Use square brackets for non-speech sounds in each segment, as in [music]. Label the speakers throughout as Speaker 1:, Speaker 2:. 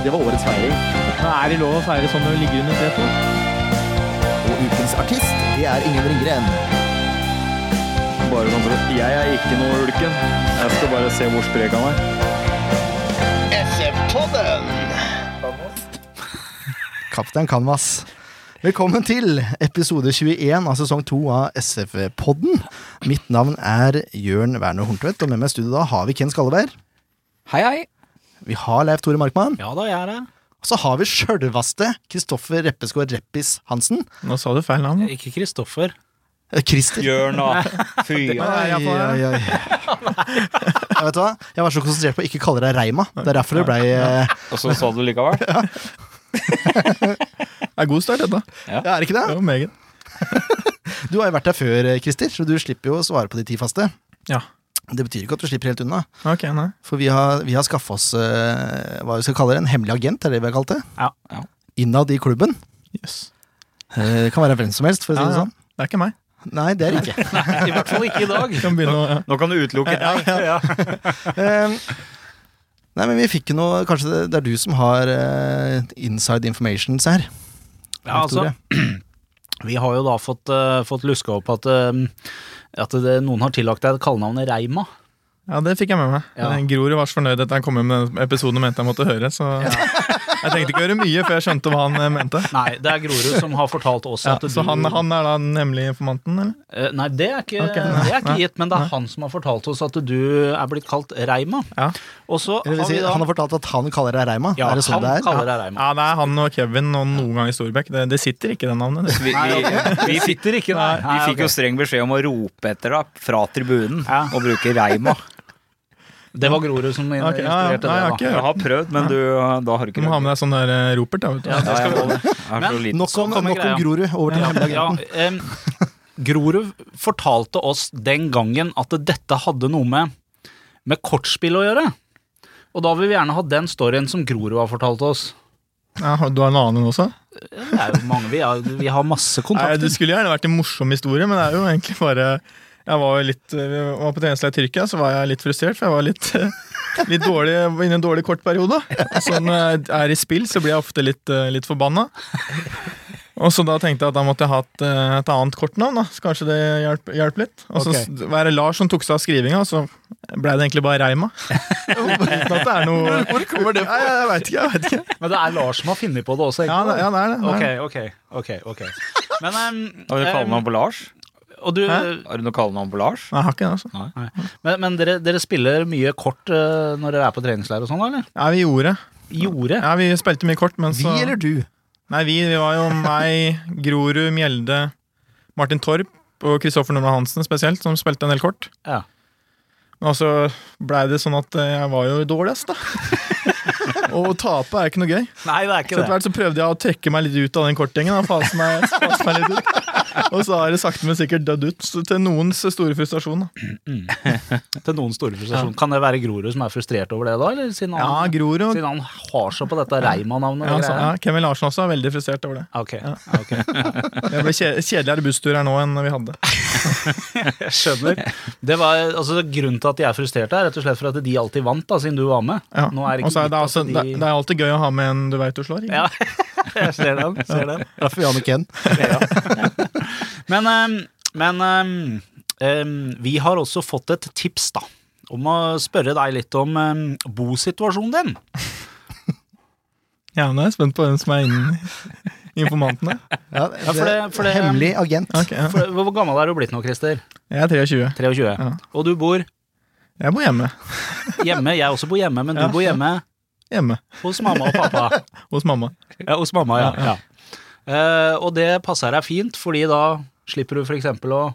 Speaker 1: Det var årets feiring.
Speaker 2: Er det lov å feire sånn når du ligger under treet?
Speaker 3: Og ukens artist, det er Ingen Ringgren.
Speaker 1: Bare sånn for at Jeg er ikke noe ulken. Jeg skal bare se hvor sprek han er.
Speaker 3: Kaptein Canvas. Velkommen til episode 21 av sesong 2 av SF-podden. Mitt navn er Jørn Werner Horntvedt, og med meg i studio da har vi Ken Skalleberg.
Speaker 4: Hei, hei.
Speaker 3: Vi har Leif Tore Markmann.
Speaker 2: Ja da, jeg er det.
Speaker 3: Og så har vi sjølvaste Kristoffer Reppeskår Reppis Hansen.
Speaker 5: Nå sa du feil navn.
Speaker 2: Ikke Kristoffer.
Speaker 3: Eh, Christer.
Speaker 4: Jørn, da. Fy.
Speaker 3: Oi, oi, oi. Ja, [laughs] vet du hva? Jeg var så konsentrert på å ikke kalle deg Reima. Det er derfor det blei eh,
Speaker 4: Og så sa du likevel.
Speaker 5: Det er god start, dette.
Speaker 3: ja, Er det ikke
Speaker 5: Det
Speaker 3: det?
Speaker 5: var meget.
Speaker 3: Du har jo vært der før, eh, Christer, så du slipper jo å svare på de ti faste.
Speaker 5: Ja.
Speaker 3: Det betyr ikke at du slipper helt unna.
Speaker 5: Ok, nei.
Speaker 3: For vi har, vi har skaffa oss eh, hva vi skal kalle det, en hemmelig agent, er det vi har kalt det?
Speaker 2: Ja.
Speaker 4: Ja.
Speaker 3: Innad i klubben.
Speaker 5: Yes.
Speaker 3: Eh, Det kan være hvem som helst, for å si det
Speaker 5: Ja, ja.
Speaker 3: sånn.
Speaker 5: Det er ikke meg.
Speaker 3: Nei, det er det
Speaker 2: [laughs]
Speaker 3: ikke.
Speaker 2: I hvert fall ikke i dag.
Speaker 5: Vi kan begynne å [laughs] ja.
Speaker 4: Nå kan du utelukke deg.
Speaker 3: Eh, Nei, men vi fikk jo noe Kanskje det, det er du som har eh, inside informations her?
Speaker 2: Ja, altså,
Speaker 3: Tore.
Speaker 2: vi har jo da fått, eh, fått luska opp at, eh, at det, noen har tillagt deg kallenavnet Reima.
Speaker 5: ja, det fikk jeg med meg.
Speaker 2: Ja.
Speaker 5: Grorud var så fornøyd etter han kom med den episoden og mente jeg måtte høre. Så jeg tenkte ikke å høre mye før jeg skjønte hva han eh, mente.
Speaker 2: Nei, det er Grorud som har fortalt oss
Speaker 5: Ja,
Speaker 2: at du
Speaker 5: så han, han er da den hemmelige informanten, eller?
Speaker 2: Eh, Nei, det er ikke,
Speaker 5: Ok, nei,
Speaker 2: det er ikke
Speaker 5: nei,
Speaker 2: gitt, men det er han som har fortalt oss at du er blitt kalt Reima.
Speaker 5: Ja.
Speaker 2: Og så
Speaker 3: Eller
Speaker 2: har
Speaker 3: vil si,
Speaker 2: vi da
Speaker 3: han har fortalt at han kaller deg Reima?
Speaker 2: ja,
Speaker 3: er det sånn det
Speaker 2: han
Speaker 3: er?
Speaker 2: kaller deg Reima.
Speaker 5: Ja, det er han og Kevin og noen ganger Storbekk. Det, det sitter ikke, det navnet. Det.
Speaker 4: Vi, vi, vi,
Speaker 2: Vi
Speaker 4: fikk,
Speaker 2: sitter ikke der.
Speaker 4: vi fikk jo streng beskjed om å rope etter deg fra tribunen
Speaker 2: Ja.
Speaker 4: og bruke
Speaker 3: [laughs]
Speaker 4: reima.
Speaker 2: Det var Grorud som
Speaker 5: Ok,
Speaker 2: instruerte
Speaker 5: ja, ja. Nei, jeg har
Speaker 2: det. da.
Speaker 5: ikke
Speaker 4: Jeg
Speaker 5: hørt.
Speaker 4: har prøvd, men du, da har
Speaker 5: Du
Speaker 4: du ikke
Speaker 5: må ha med deg sånn der eh, Ropert, da. Vet du.
Speaker 2: Ja, det
Speaker 4: Ja,
Speaker 2: skal
Speaker 4: jeg
Speaker 2: vi
Speaker 4: må det. Jeg er så
Speaker 2: Men-
Speaker 4: liten.
Speaker 3: Nok om,
Speaker 2: Så kommer
Speaker 3: nok om
Speaker 2: greia.
Speaker 3: Grorud. Over til den hemmelige
Speaker 2: Ja,
Speaker 3: agenten.
Speaker 2: em, Grorud fortalte oss den gangen at dette hadde noe med, med kortspill å gjøre. Og da vil vi gjerne ha den storyen som Grorud har fortalt oss.
Speaker 5: Ja, har- du har en annen også?
Speaker 2: Det er jo mange, vi, har- vi har masse
Speaker 5: Nei,
Speaker 2: kontakter.
Speaker 5: det skulle gjerne vært en morsom historie, men det er jo egentlig bare Jeg var jo litt eh, vi var på treningsleir i Tyrkia, så var jeg litt frustrert, for jeg var litt, eh, litt dårlig var inne i en dårlig kort periode. Så når jeg er i spill, så blir jeg ofte litt, eh, litt forbanna. Og så da tenkte jeg at da måtte jeg ha et, eh, et annet kortnavn, da. Så kanskje det hjalp hjalp litt. Og så
Speaker 2: Ok.
Speaker 5: s- var det Lars som tok seg av skrivinga, og så blei det egentlig bare [laughs] Reima. Uten at det er noe Hvor kommer det fra? Jeg, jeg veit ikke. jeg vet ikke.
Speaker 2: Men det er Lars som har funnet på det også,
Speaker 5: Ja, det,
Speaker 2: egentlig.
Speaker 5: ja, det er det. det, er
Speaker 2: Ok,
Speaker 5: det.
Speaker 2: ok, ok. ok. Men em,
Speaker 4: Har du noe
Speaker 2: em,
Speaker 4: kallenavn på Lars?
Speaker 2: og du,
Speaker 5: Hæ?
Speaker 4: Har du noe kallenavn på Lars?
Speaker 5: Nei, jeg har ikke det, altså.
Speaker 2: men, men dere, dere spiller mye kort eh, når dere er på treningsleir og sånn, da, eller?
Speaker 5: Ja, vi gjorde.
Speaker 2: Jordet?
Speaker 5: Ja, vi spilte mye kort, men så
Speaker 3: Vi eller du?
Speaker 5: Nei, vi, vi var jo meg, Grorud, Mjelde, Martin Torp og Kristoffer Nummer Hansen spesielt, som spilte en del kort.
Speaker 2: Ja.
Speaker 5: Men så blei det sånn at eh, jeg var jo dårligst, da. [laughs] og å tape er ikke noe gøy.
Speaker 2: Nei, det er
Speaker 5: Så
Speaker 2: ikke
Speaker 5: etter
Speaker 2: det.
Speaker 5: hvert så prøvde jeg å trekke meg litt ut av den kortgjengen. da, Fase meg, fase meg litt ut. Og så har det sakte, men sikkert dødd ut, så til noens store frustrasjon. da.
Speaker 2: Til noen store frustrasjon. Kan det være Grorud som er frustrert over det, da? Eller siden han
Speaker 5: Ja, Grorud.
Speaker 2: Siden han har så på dette Reima-navnet.
Speaker 5: Ja,
Speaker 2: og
Speaker 5: så, ja,
Speaker 2: greier.
Speaker 5: Kevin Larsen også er veldig frustrert over det.
Speaker 2: Ok,
Speaker 5: Ja.
Speaker 2: [laughs] ok,
Speaker 5: Det ble kje- kjedeligere busstur her nå enn vi hadde.
Speaker 2: jeg skjønner. Det var, altså, grunnen til at de er frustrerte, er rett og slett for at de alltid vant, da, siden du var med.
Speaker 5: Ja.
Speaker 2: Nå er det
Speaker 5: Og så
Speaker 2: ikke
Speaker 5: er det,
Speaker 2: gitt at
Speaker 5: altså, det,
Speaker 2: de-
Speaker 5: det er alltid gøy å ha med en du veit du slår. ikke?
Speaker 2: Ja, [laughs] jeg ser den. Ser den.
Speaker 3: Derfor Jan og Ken.
Speaker 2: Men, ehm, men ehm, ehm, vi har også fått et tips, da. Om å spørre deg litt om ehm, bosituasjonen din.
Speaker 5: Ja, nå er jeg spent på hvem som er [laughs] innen informantene.
Speaker 3: Ja,
Speaker 2: for det- for det-
Speaker 3: hemmelig agent.
Speaker 5: Ok, ja.
Speaker 2: For, hvor gammel er du blitt nå, Christer?
Speaker 5: Jeg er 23.
Speaker 2: 23.
Speaker 5: Ja.
Speaker 2: Og du bor
Speaker 5: Jeg bor hjemme.
Speaker 2: hjemme. Jeg også bor hjemme, men du
Speaker 5: Ja.
Speaker 2: bor hjemme
Speaker 5: Hjemme
Speaker 2: hos mamma og pappa.
Speaker 5: hos mamma.
Speaker 2: [laughs] Ja, hos mamma, ja. ja. Eh, og det passer deg fint, fordi da slipper du f.eks. å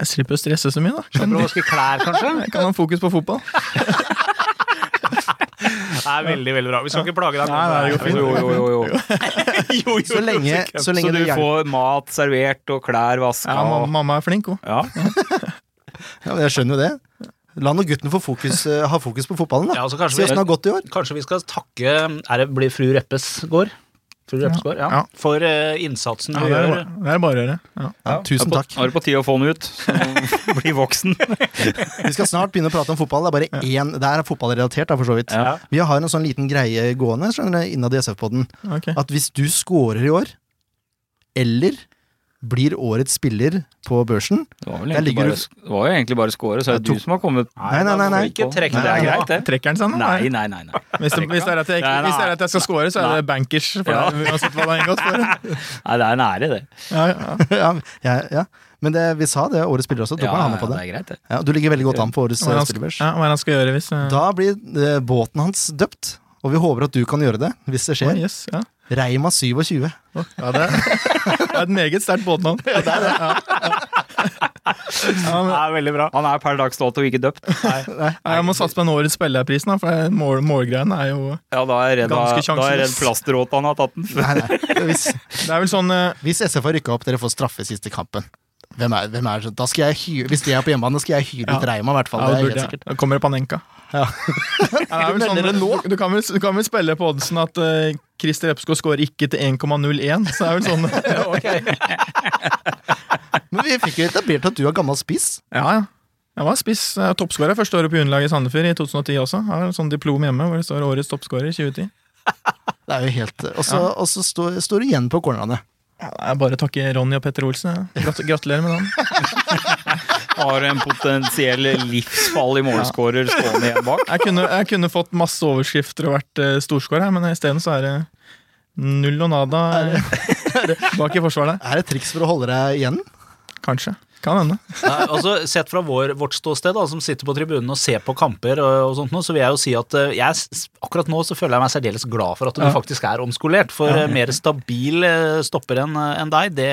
Speaker 5: Jeg slipper å stresse så mye, da.
Speaker 2: Slipper du å vaske klær, kanskje?
Speaker 5: Jeg kan ha fokus på fotball.
Speaker 2: Det er veldig veldig bra. Vi skal ikke plage deg.
Speaker 5: Nei, nei, det går
Speaker 1: Jo,
Speaker 5: fint.
Speaker 1: jo, jo. jo,
Speaker 4: [laughs]
Speaker 1: jo.
Speaker 2: Jo, [laughs] jo,
Speaker 3: Så lenge, så
Speaker 4: Så
Speaker 3: lenge
Speaker 4: du
Speaker 3: det hjelper.
Speaker 4: får mat servert og klær vaska
Speaker 5: Ja, ma-
Speaker 4: og
Speaker 5: mamma er flink, hun.
Speaker 4: ja.
Speaker 3: Ja, men jeg skjønner jo det. La nå gutten få fokus, eh, ha fokus på fotballen, da.
Speaker 2: Ja, så
Speaker 3: Se
Speaker 2: kanskje,
Speaker 3: åssen det
Speaker 2: vi,
Speaker 3: har gått i år.
Speaker 2: kanskje vi skal takke Er det blir fru Reppes gård? Fru Reppes gård, ja.
Speaker 5: Ja.
Speaker 2: For eh, innsatsen
Speaker 5: Ja,
Speaker 2: du
Speaker 5: det, er,
Speaker 2: gjør.
Speaker 5: bare- det er bare å gjøre. Ja.
Speaker 3: Ja, tusen
Speaker 4: Nå
Speaker 3: takk.
Speaker 4: er det på tide å få den ut,
Speaker 3: [laughs]
Speaker 4: så [laughs] den blir voksen.
Speaker 3: Vi skal snart begynne å prate om fotball. Det er bare én Det er fotballrelatert, da, for så vidt.
Speaker 4: Ja.
Speaker 3: Vi har en sånn liten greie gående skjønner du, innad i SF-podden.
Speaker 5: Ok.
Speaker 3: At hvis du scorer i år, eller blir årets spiller på børsen [laughs]
Speaker 4: Det var, vel
Speaker 3: Der
Speaker 4: egentlig
Speaker 3: ligger
Speaker 4: bare,
Speaker 3: du-
Speaker 4: det var jo egentlig bare score, så er det
Speaker 3: Jeg tok-
Speaker 4: du som har kommet
Speaker 3: Nei, nei, nei, nei.
Speaker 2: Ikke trekk
Speaker 3: Nei,
Speaker 4: Det er
Speaker 2: det.
Speaker 4: greit, det.
Speaker 5: Trekker den seg nå?
Speaker 4: Nei, nei, nei. nei.
Speaker 5: Hvis det, hvis, det er at jeg,
Speaker 4: Nei, nei.
Speaker 5: hvis det er at jeg skal score, så er det bankers. For
Speaker 4: Ja.
Speaker 5: det, [laughs] uansett hva det har inngått for.
Speaker 4: nei det er nære, det.
Speaker 5: Ja, ja.
Speaker 3: ja, ja, ja. Men det, vi sa det, årets spiller også. Tok
Speaker 4: Ja,
Speaker 3: man
Speaker 4: ja,
Speaker 3: handen på
Speaker 4: det
Speaker 3: det.
Speaker 4: er greit, det.
Speaker 3: Ja, du ligger veldig godt an på årets
Speaker 5: Hva
Speaker 3: eh,
Speaker 5: er det han,
Speaker 3: spillerbørs.
Speaker 5: ja, hva er det han skal gjøre hvis eh,
Speaker 3: Da blir eh, båten hans døpt. Og vi håper at du kan gjøre det, hvis det
Speaker 5: Oi,
Speaker 3: skjer.
Speaker 5: yes, ja.
Speaker 3: Reima 27.
Speaker 5: Ja, det det er et meget sterkt båtnavn. Ja, det er det. Ja, men,
Speaker 2: Det er veldig bra.
Speaker 4: Han er per dags dato ikke døpt.
Speaker 5: ja, jeg må satse på den årets spillerprisen, da, for mål, målgreiene er jo
Speaker 4: Ja, da er jeg redd,
Speaker 5: Ganske
Speaker 4: da er jeg redd
Speaker 5: sjanseløs.
Speaker 4: plasteråten han har tatt den.
Speaker 3: Nei, nei. Hvis,
Speaker 5: Det er vel sånn eh,
Speaker 3: hvis SF har rykka opp, dere får straffe siste kampen. Hvem er, hvem er det? Da skal jeg hyre, hvis de er på hjemmebane, skal jeg hyre ut Reima, i hvert fall.
Speaker 5: ja,
Speaker 3: Det
Speaker 5: det
Speaker 3: er
Speaker 5: burde
Speaker 3: helt
Speaker 5: jeg.
Speaker 3: sikkert.
Speaker 5: Da kommer det Panenka.
Speaker 3: Ja.
Speaker 5: Ja, det er vel sånn, du, du, kan vel, du kan vel spille på oddsen at eh, Christer Epskog scorer ikke til 1,01, så det er vel sånn [laughs]
Speaker 3: Men vi fikk jo etablert at du er gammel spiss.
Speaker 5: Ja, ja. Jeg var spiss. eh, Toppskårer første året på juniorlaget i Sandefjord i 2010 også. Jeg har en sånn diplom hjemme hvor det står 'Årets toppskårer 2010'.
Speaker 3: Det er jo helt eh, Og så og så står står du igjen på cornerne.
Speaker 5: Ja, det er bare å takke Ronny og Petter Olsen. jeg. Grat gratulerer med den.
Speaker 4: Har en potensiell livsfarlig målskårer stående igjen bak.
Speaker 5: Jeg kunne, jeg kunne fått masse overskrifter og vært uh, storskårer, her, men isteden så er det null og nada eh, bak i forsvaret.
Speaker 3: Er det et triks for å holde deg igjen?
Speaker 5: Kanskje. Kan hende.
Speaker 2: Nei, altså, sett fra vår, vårt ståsted, da, som sitter på tribunen og ser på kamper, og, og sånt nå, så vil jeg jo si at eh, jeg, s- akkurat nå så føler jeg meg særdeles glad for at du
Speaker 5: Ja.
Speaker 2: faktisk er omskolert. For eh, mer stabil eh, stopper enn enn deg, det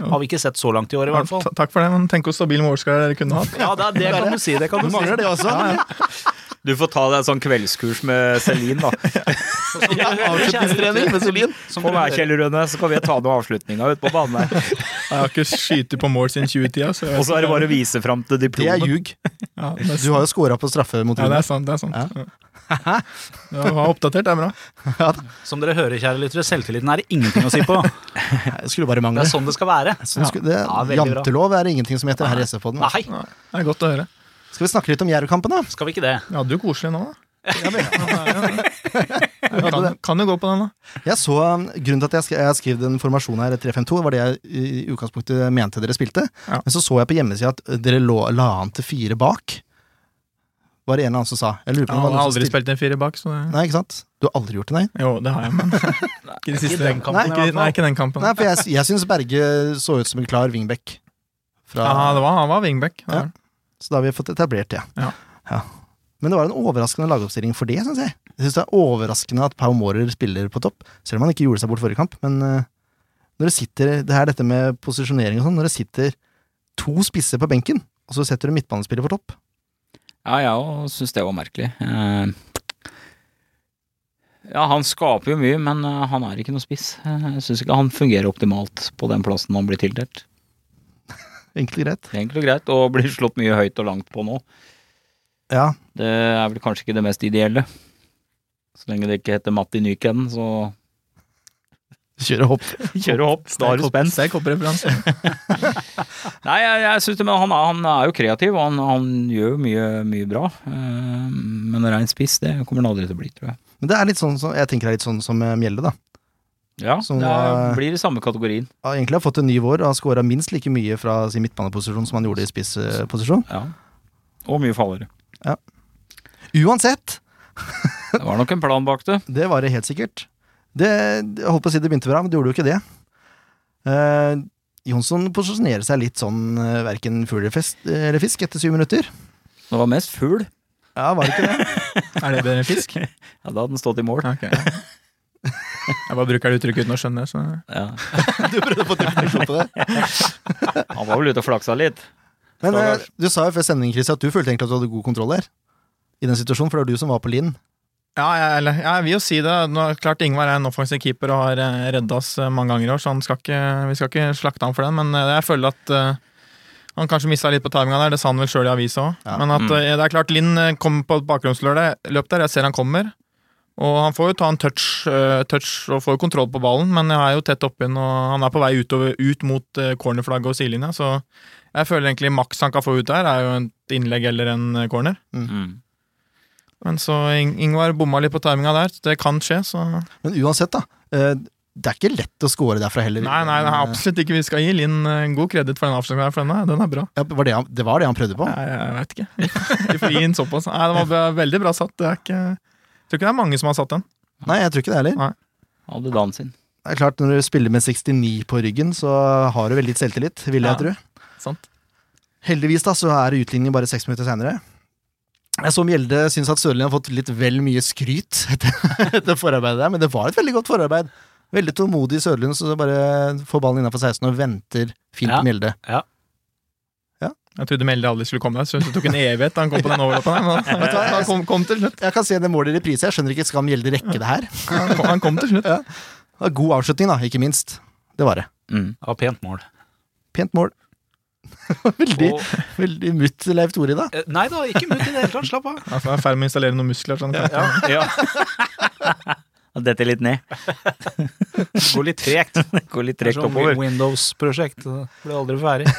Speaker 2: har vi ikke sett så langt i år, i
Speaker 5: Ja,
Speaker 2: hvert fall.
Speaker 5: ta- Takk for det, men tenk hvor stabil målskårer dere kunne hatt.
Speaker 2: Ja, det, det kan du si. Det kan du si.
Speaker 3: Mangler det også?
Speaker 4: Du får ta deg en sånn kveldskurs med Celine, da.
Speaker 2: Og som du hører,
Speaker 3: Avslutningstrening med Solin.
Speaker 2: som
Speaker 4: [laughs] Kom
Speaker 2: dere
Speaker 4: her,
Speaker 2: hører-
Speaker 4: Kjell Rønne, så kan vi ta noe avslutninga ute på banen her.
Speaker 5: Jeg har ikke skutt på mål siden 2010. Så jeg vet
Speaker 4: Og så er det
Speaker 5: ikke.
Speaker 4: bare å vise fram til
Speaker 3: Det er
Speaker 4: diplomet.
Speaker 3: ljug.
Speaker 5: ja, det, er,
Speaker 3: Du har jo scora på straffe mot
Speaker 5: ja, det
Speaker 3: Rune.
Speaker 5: er sant. Det er sant.
Speaker 3: Ja.
Speaker 5: Ja. Ja, å være oppdatert det er bra.
Speaker 2: Som dere hører, kjære lyttere, selvtilliten er det ingenting å si på.
Speaker 3: Det skulle bare
Speaker 2: Det
Speaker 3: mangle.
Speaker 2: er sånn det skal være.
Speaker 3: Sånn skulle- det-
Speaker 2: Ja, veldig bra.
Speaker 3: Jantelov er ingenting som heter her i SF-podden.
Speaker 2: Nei,
Speaker 5: Det er godt å høre.
Speaker 3: Skal vi snakke litt om Jerv-kampen, da?
Speaker 2: skal vi ikke det?
Speaker 5: Vi hadde jo koselig nå, da. Ja, kan, kan jo gå på den, da.
Speaker 3: Jeg så, um, Grunnen til at jeg, sk jeg skrev den formasjonen her, 3-5-2, var det jeg i i utgangspunktet mente dere spilte.
Speaker 5: Ja.
Speaker 3: Men så så jeg på hjemmesida at øh, dere lå, la an til fire bak. Var det en eller annen som sa? Jeg lurer på
Speaker 5: Jeg
Speaker 3: om det var
Speaker 5: har
Speaker 3: noen som
Speaker 5: aldri
Speaker 3: stilte-
Speaker 5: spilt en firer bak, så det
Speaker 3: Nei, ikke sant? Du har aldri gjort det, nei?
Speaker 5: Jo, det har jeg, men ikke de siste.
Speaker 2: den kampen, i
Speaker 5: Nei,
Speaker 2: hvert
Speaker 5: ikke,
Speaker 2: fall.
Speaker 5: nei, ikke den kampen.
Speaker 3: Nei, for jeg, jeg syns Berge så ut som en klar wingback. Fra,
Speaker 5: Ja, det var, han var wingback.
Speaker 3: Ja. Så da har vi fått etablert det.
Speaker 5: Ja.
Speaker 3: Ja. Men det var en overraskende lagoppstilling for det, syns jeg. Jeg syns det er overraskende at Pau Mårer spiller på topp, selv om han ikke gjorde seg bort forrige kamp. Men eh, når det sitter Det her dette med posisjonering og sånn, når det sitter to spisser på benken, og så setter du midtbanespiller på topp
Speaker 4: Ja, jeg syns det var merkelig. Eh, Ja, han skaper jo mye, men eh, han er ikke noe spiss. Eh, Jeg syns ikke han fungerer optimalt på den plassen han blir tildelt.
Speaker 3: Enkelt og greit.
Speaker 4: Det er egentlig greit, og blir slått mye høyt og langt på nå.
Speaker 3: Ja,
Speaker 4: Det er vel kanskje ikke det mest ideelle. Så lenge det ikke heter Matti Nyken, [laughs] så
Speaker 3: kjøre hopp.
Speaker 4: kjører hopp. Da har du spenst.
Speaker 5: Sterk hoppreferanse.
Speaker 4: Nei, jeg, jeg synes det, men han, er- han er jo kreativ, og han, han gjør jo mye, mye bra. Eh, Men rein spiss, det kommer han aldri til å bli, tror jeg.
Speaker 3: Men det er litt sånn som jeg tenker det er litt sånn som eh, Mjelde, da.
Speaker 4: Ja,
Speaker 3: Som
Speaker 4: det
Speaker 3: var-
Speaker 4: er, blir i samme kategorien.
Speaker 3: Han egentlig har fått en ny vår og har skåra minst like mye fra sin midtbaneposisjon som han gjorde i spissposisjon.
Speaker 4: Ja. Og mye farligere.
Speaker 3: Uansett!
Speaker 4: Det var nok en plan bak det.
Speaker 3: Det var det helt sikkert. Det, jeg holdt på å si det begynte bra, men det gjorde jo ikke det. Eh, Jonsson posisjonerer seg litt sånn eh, verken fugl eller fest- eller fisk etter syv minutter.
Speaker 4: Det var mest fugl.
Speaker 3: Ja, var det ikke det?
Speaker 5: Er det bedre enn fisk?
Speaker 4: Ja, da hadde den stått i mål.
Speaker 5: Ja, [laughs] ok. Jeg bare bruker det uttrykket uten å skjønne det. Så.
Speaker 4: Ja.
Speaker 3: [laughs] Du prøvde å få definisjon på det.
Speaker 4: Han var vel ute og flaksa litt.
Speaker 3: Men eh, du sa jo før sendingen, Chris, at du følte egentlig at du hadde god kontroll der. I den situasjonen, for det var du som var på Linn.
Speaker 5: Ja, jeg, eller, jeg vil jo si det. Nå, klart Ingvar er en offensiv keeper og har eh, redda oss eh, mange ganger i år, så han skal ikke, vi skal ikke slakte ham for den. Men eh, jeg føler at eh, han kanskje mista litt på timinga der. Det sa han vel sjøl i avisa òg.
Speaker 3: Ja.
Speaker 5: Men at,
Speaker 4: Mm.
Speaker 5: eh, det er klart Linn eh, kommer på et bakgrunnsløp der. Jeg ser han kommer. Og han får jo ta en touch, eh, touch og får jo kontroll på ballen, men jeg er jo tett oppi den, og han er på vei utover, ut mot eh, cornerflagget og sidelinja, så jeg føler egentlig maks han kan få ut der, er jo et innlegg eller en eh, corner.
Speaker 4: Mm.
Speaker 5: Men så Ing Ingvar bomma litt på timinga der. Det kan skje, så
Speaker 3: Men uansett, da. eh, Det er ikke lett å score derfra heller.
Speaker 5: Nei, nei, det er absolutt ikke vi skal gi Linn eh, god kreditt for den avslutninga her, for den er, den er bra.
Speaker 3: Ja, var det, han, det var det han prøvde på?
Speaker 5: Nei, jeg vet ikke. Vi får gi den såpass. Nei, den var be- veldig bra satt. Det er ikke jeg tror ikke det er mange som har satt den.
Speaker 3: Nei, jeg tror ikke det heller.
Speaker 5: Nei.
Speaker 4: Hadde dagen sin.
Speaker 3: Det er klart, Når du spiller med 69 på ryggen, så har du vel litt selvtillit, vil jeg
Speaker 5: Ja.
Speaker 3: tro.
Speaker 5: Sant.
Speaker 3: Heldigvis da, så er utligningen bare seks minutter senere. Jeg så Mjelde syns at Sørlien har fått litt vel mye skryt etter, [laughs] etter forarbeidet der, men det var et veldig godt forarbeid. Veldig tålmodig Sørlund som bare får ballen innafor 16 og venter fint
Speaker 2: Ja.
Speaker 3: på Mjelde.
Speaker 5: Jeg trodde Melde aldri skulle komme der, så det tok en evighet da han kom på den overlappen
Speaker 4: [laughs]
Speaker 5: her. Men
Speaker 3: Vet du hva?
Speaker 5: han- han kom, kom til slutt.
Speaker 3: Jeg kan se det målet i reprise, jeg skjønner ikke skal Mjelde rekke det her? Det
Speaker 5: Han kom, han kom til slutt.
Speaker 3: var God avslutning, da, ikke minst. Det var det.
Speaker 4: Mm.
Speaker 2: Det var pent mål.
Speaker 3: Pent mål. [laughs] veldig,
Speaker 2: Og,
Speaker 3: veldig mutt Leif Tore, da.
Speaker 2: eh, nei da, ikke mut i det hele tatt. Slapp av.
Speaker 5: Han er i ferd med å installere noen muskler. Sånn.
Speaker 4: Ja. ja. Dette litt [laughs] ned.
Speaker 2: Gå litt tregt.
Speaker 4: Går litt
Speaker 2: Det er
Speaker 4: tregt
Speaker 2: sånn
Speaker 4: oppover.
Speaker 2: Windows-prosjekt. det Blir aldri ferdig.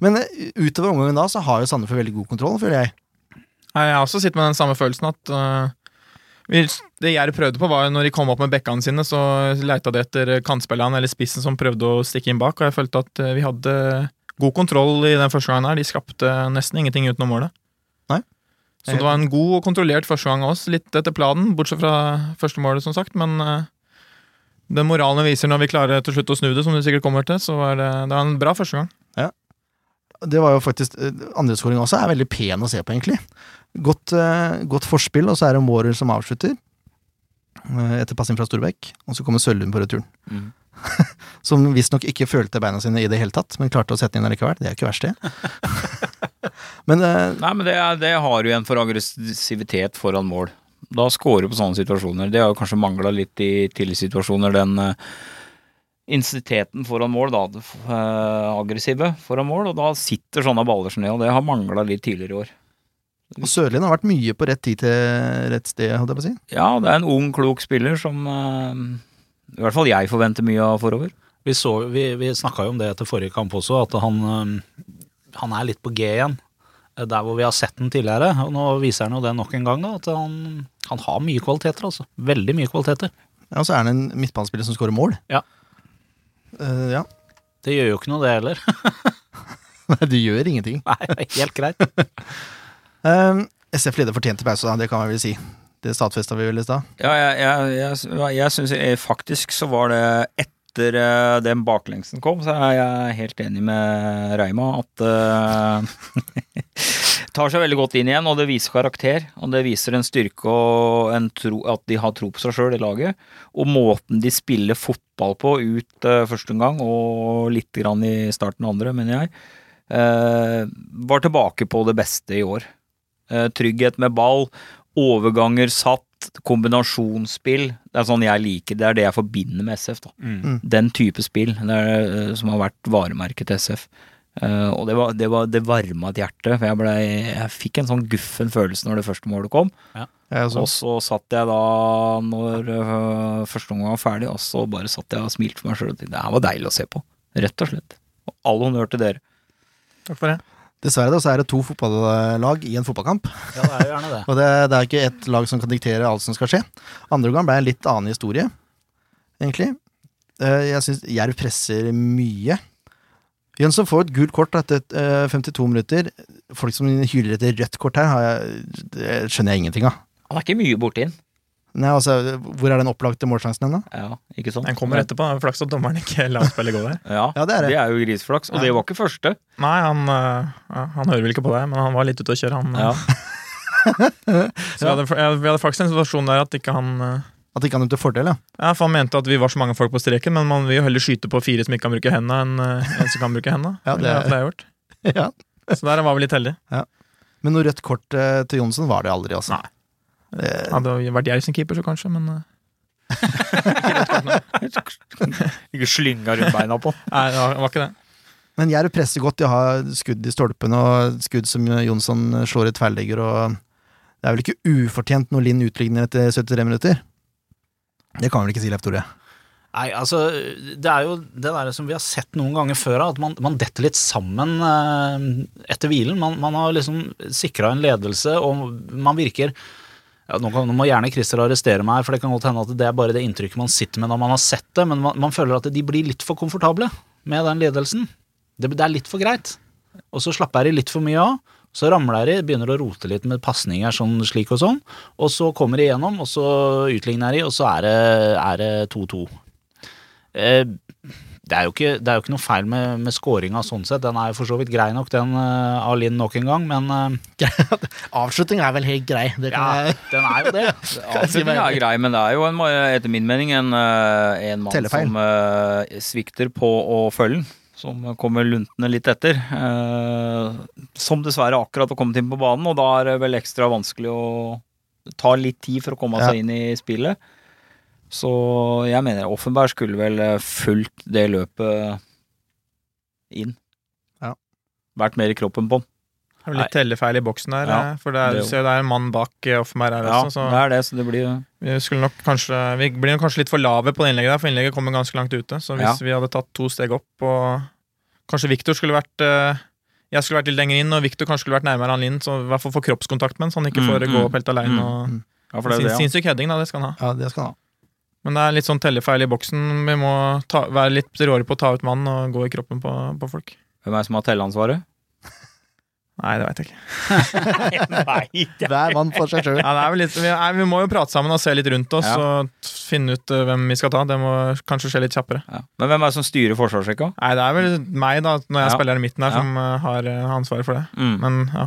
Speaker 3: Men eh, utover omgangen da, så har jo Sandefjord veldig god kontroll, føler jeg.
Speaker 5: Nei, Jeg har også sittet med den samme følelsen at øh, vi, Det Jerv prøvde på, var jo når de kom opp med bekkene sine, så leita de etter eh, kantspillerne eller spissen som prøvde å stikke inn bak, og jeg følte at øh, vi hadde god kontroll i den første gangen her. De skapte nesten ingenting utenom målet.
Speaker 3: Nei.
Speaker 5: Så det var en god og kontrollert første gang av oss, litt etter planen, bortsett fra første målet, som sagt, men øh, den moralen vi viser når vi klarer til slutt å snu det, som du sikkert kommer til, så var det, det var en bra første gang.
Speaker 3: Det var jo faktisk eh, Andreskåringen også er veldig pen å se på, egentlig. Godt, eh, godt forspill, og så er det Mårer som avslutter. eh, Etter passing fra Storbekk, og så kommer Sølvund på returen.
Speaker 4: Mm.
Speaker 3: [laughs] Som visstnok ikke følte beina sine i det hele tatt, men klarte å sette den inn allikevel. Det er ikke verst, det. men eh,
Speaker 4: Nei, men det, er- det har jo en for aggressivitet foran mål. Da scorer du på sånne situasjoner. Det har jo kanskje mangla litt i tidligere situasjoner, den eh, intensiteten foran mål, da. det f- eh, aggressive foran mål. Og da sitter sånne baller som det, og det har mangla litt tidligere i år.
Speaker 3: og Sørlien har vært mye på rett tid til rett sted, holdt jeg på å si.
Speaker 4: Ja, det er en ung, klok spiller som eh, i hvert fall jeg forventer mye av forover.
Speaker 2: Vi, så- vi, vi snakka jo om det etter forrige kamp også, at han, øhm, han er litt på G igjen. eh, Der hvor vi har sett den tidligere. Og nå viser han jo det nok en gang, da, at han, han har mye kvaliteter, altså. Veldig mye kvaliteter.
Speaker 3: Ja, og så er han en midtbanespiller som skårer mål.
Speaker 2: Ja.
Speaker 3: Eh, ja. [laughs]
Speaker 2: Det gjør jo ikke noe, det heller. [laughs]
Speaker 3: Nei, du gjør ingenting.
Speaker 2: Nei, det er helt greit.
Speaker 3: Um, SF leder fortjente pause, da. Det kan jeg vel si. Det stadfesta vi vel i stad.
Speaker 4: Ja, jeg, jeg, jeg, jeg syns faktisk så var det etter eh, den baklengsen kom, så er jeg helt enig med Reima at eh, [laughs] Tar seg veldig godt inn igjen, og det viser karakter. Og det viser en styrke og en tro, at de har tro på seg sjøl, det laget. Og måten de spiller fotball på ut eh, første omgang, og lite grann i starten av andre, mener jeg, eh, var tilbake på det beste i år. Eh, trygghet med ball, overganger satt, kombinasjonsspill. Det er sånn jeg liker, det er det jeg forbinder med SF. da.
Speaker 3: Mm.
Speaker 4: Den type spill det er, eh, som har vært varemerket til SF. Eh, og det, var, det, var, det varma et hjerte, for jeg, ble, jeg fikk en sånn guffen følelse når det første målet kom.
Speaker 3: Jeg også.
Speaker 4: Og så satt jeg da, når øh, første omgang var ferdig, og så bare satt jeg og smilte for meg sjøl og tenkte det her var deilig å se på. Rett og slett. Og all honnør til dere.
Speaker 5: Takk for det.
Speaker 3: Dessverre da, så er det to fotballag i en fotballkamp.
Speaker 2: Ja, det er jo gjerne det.
Speaker 3: Og det, det er ikke ett lag som kan diktere alt som skal skje. Andre gang ble en litt annen historie, egentlig. Eh, Jeg syns Jerv presser mye. Jønsson får et gult kort etter eh, 52 minutter. Folk som hyler etter rødt kort her, har jeg, det skjønner jeg ingenting av.
Speaker 4: Han er ikke mye borti den.
Speaker 3: Nei, altså, Hvor er den opplagte målsjansen hen, da?
Speaker 4: Ja, ikke sant?
Speaker 5: Den kommer etterpå. da. Flaks at dommeren ikke lar spillet gå der.
Speaker 4: Ja,
Speaker 3: Ja, det er det.
Speaker 4: det er jo grisflaks. Og det var ikke første.
Speaker 5: Nei, han, øh, ja, han hører vel ikke på deg, men han var litt ute å kjøre. Han, eh.
Speaker 4: Ja.
Speaker 5: Så vi hadde, jeg- vi hadde faktisk en situasjon der at ikke han øh,
Speaker 3: At ikke han er til fordel, ja.
Speaker 5: [laughs] ja, for Han mente at vi var så mange folk på streken, men man vil jo heller skyte på fire som ikke kan bruke hendene enn øh, en som kan bruke hendene
Speaker 3: Ja, det-
Speaker 5: Eller at det er gjort.
Speaker 3: ja.
Speaker 5: Så der var vi litt heldige.
Speaker 3: Men noe rødt kort eh, til Johnsen var det aldri, altså.
Speaker 5: Nei. Hadde det vært jeg som keeper, så kanskje, men eh,
Speaker 4: Ikke slynga rundt beina på. [laughs]
Speaker 5: Nei, det var det var ikke det.
Speaker 3: Men Jerv presser godt. De har skudd i stolpen og skudd som Jonsson slår i tverrligger. Og det er vel ikke ufortjent når Linn utligner etter 73 minutter? Det kan vel ikke si, Leif Tore?
Speaker 2: Nei, altså, det er jo det der som vi har sett noen ganger før, at man, man detter litt sammen eh, etter hvilen. Man, man har liksom sikra en ledelse, og man virker ja, nå, kan, nå må gjerne Christer arrestere meg, for det kan godt hende at det er bare det inntrykket man sitter med når man har sett det, men man, man føler at de blir litt for komfortable med den ledelsen. Det, det er litt for greit. Og så slapper de litt for mye av. Så ramler de, begynner å rote litt med pasninger sånn slik og sånn, og så kommer de gjennom, og så utligner de, og så er det- er det 2-2. Eh, det er, jo ikke, det er jo ikke noe feil med, med scoringa sånn sett. Den er jo for så vidt grei nok, den eh, av Linn nok en gang, men eh, [laughs]
Speaker 3: Avslutning er vel helt grei. Det
Speaker 2: ja, den er jo det.
Speaker 3: [laughs]
Speaker 4: Avslutningen er grei, men det er jo en, etter min mening en, eh, en mann
Speaker 3: Tellefeil.
Speaker 4: som eh, svikter på å følge den. Som kommer luntende litt etter. eh, som dessverre akkurat har kommet inn på banen, og da er det vel ekstra vanskelig å ta litt tid for å komme
Speaker 3: Ja.
Speaker 4: seg inn i spillet. Så jeg mener Offenberg skulle vel eh, fulgt det løpet inn.
Speaker 3: Ja.
Speaker 4: Vært mer i kroppen på den.
Speaker 5: Det er vel litt tellefeil i boksen der,
Speaker 4: Ja,
Speaker 5: eh, for det er,
Speaker 4: det er
Speaker 5: du ser, det er en mann bak eh, Offenberg her
Speaker 4: Ja,
Speaker 5: også, så
Speaker 4: det er det, så det blir jo
Speaker 5: Vi, skulle nok kanskje, vi blir nok kanskje litt for lave på det innlegget, der, for innlegget kommer ganske langt ute. Så hvis
Speaker 4: Ja.
Speaker 5: vi hadde tatt to steg opp og Kanskje Viktor skulle vært eh, Jeg skulle vært litt lenger inn, og Viktor kanskje skulle vært nærmere han inn, så i hvert fall få kroppskontakt med han, så han ikke
Speaker 4: Mm,
Speaker 5: får
Speaker 4: mm,
Speaker 5: gå opp helt
Speaker 4: mm,
Speaker 5: aleine. og
Speaker 4: ja, for det er
Speaker 5: Sin,
Speaker 4: det, ja.
Speaker 5: Sinnssyk heading, da. Det skal han ha.
Speaker 3: Ja, det skal han ha.
Speaker 5: Men det er litt sånn tellefeil i boksen. Vi må ta, være litt råere på å ta ut mannen og gå i kroppen på, på folk.
Speaker 4: Hvem er det som har telleansvaret?
Speaker 5: Nei, det veit jeg ikke.
Speaker 4: Nei,
Speaker 3: Hver mann for seg sjøl.
Speaker 5: Ja, det er vel litt, vi, nei, vi må jo prate sammen og se litt rundt oss
Speaker 4: Ja.
Speaker 5: og t- finne ut eh, hvem vi skal ta. Det må kanskje skje litt kjappere.
Speaker 4: Ja. Men hvem er det som styrer forsvarsrekka?
Speaker 5: Nei, det er vel meg, da, når jeg
Speaker 4: Ja.
Speaker 5: spiller i midten her,
Speaker 4: Ja.
Speaker 5: som eh, har eh, ansvaret for det.
Speaker 4: Mm.
Speaker 5: Men ja.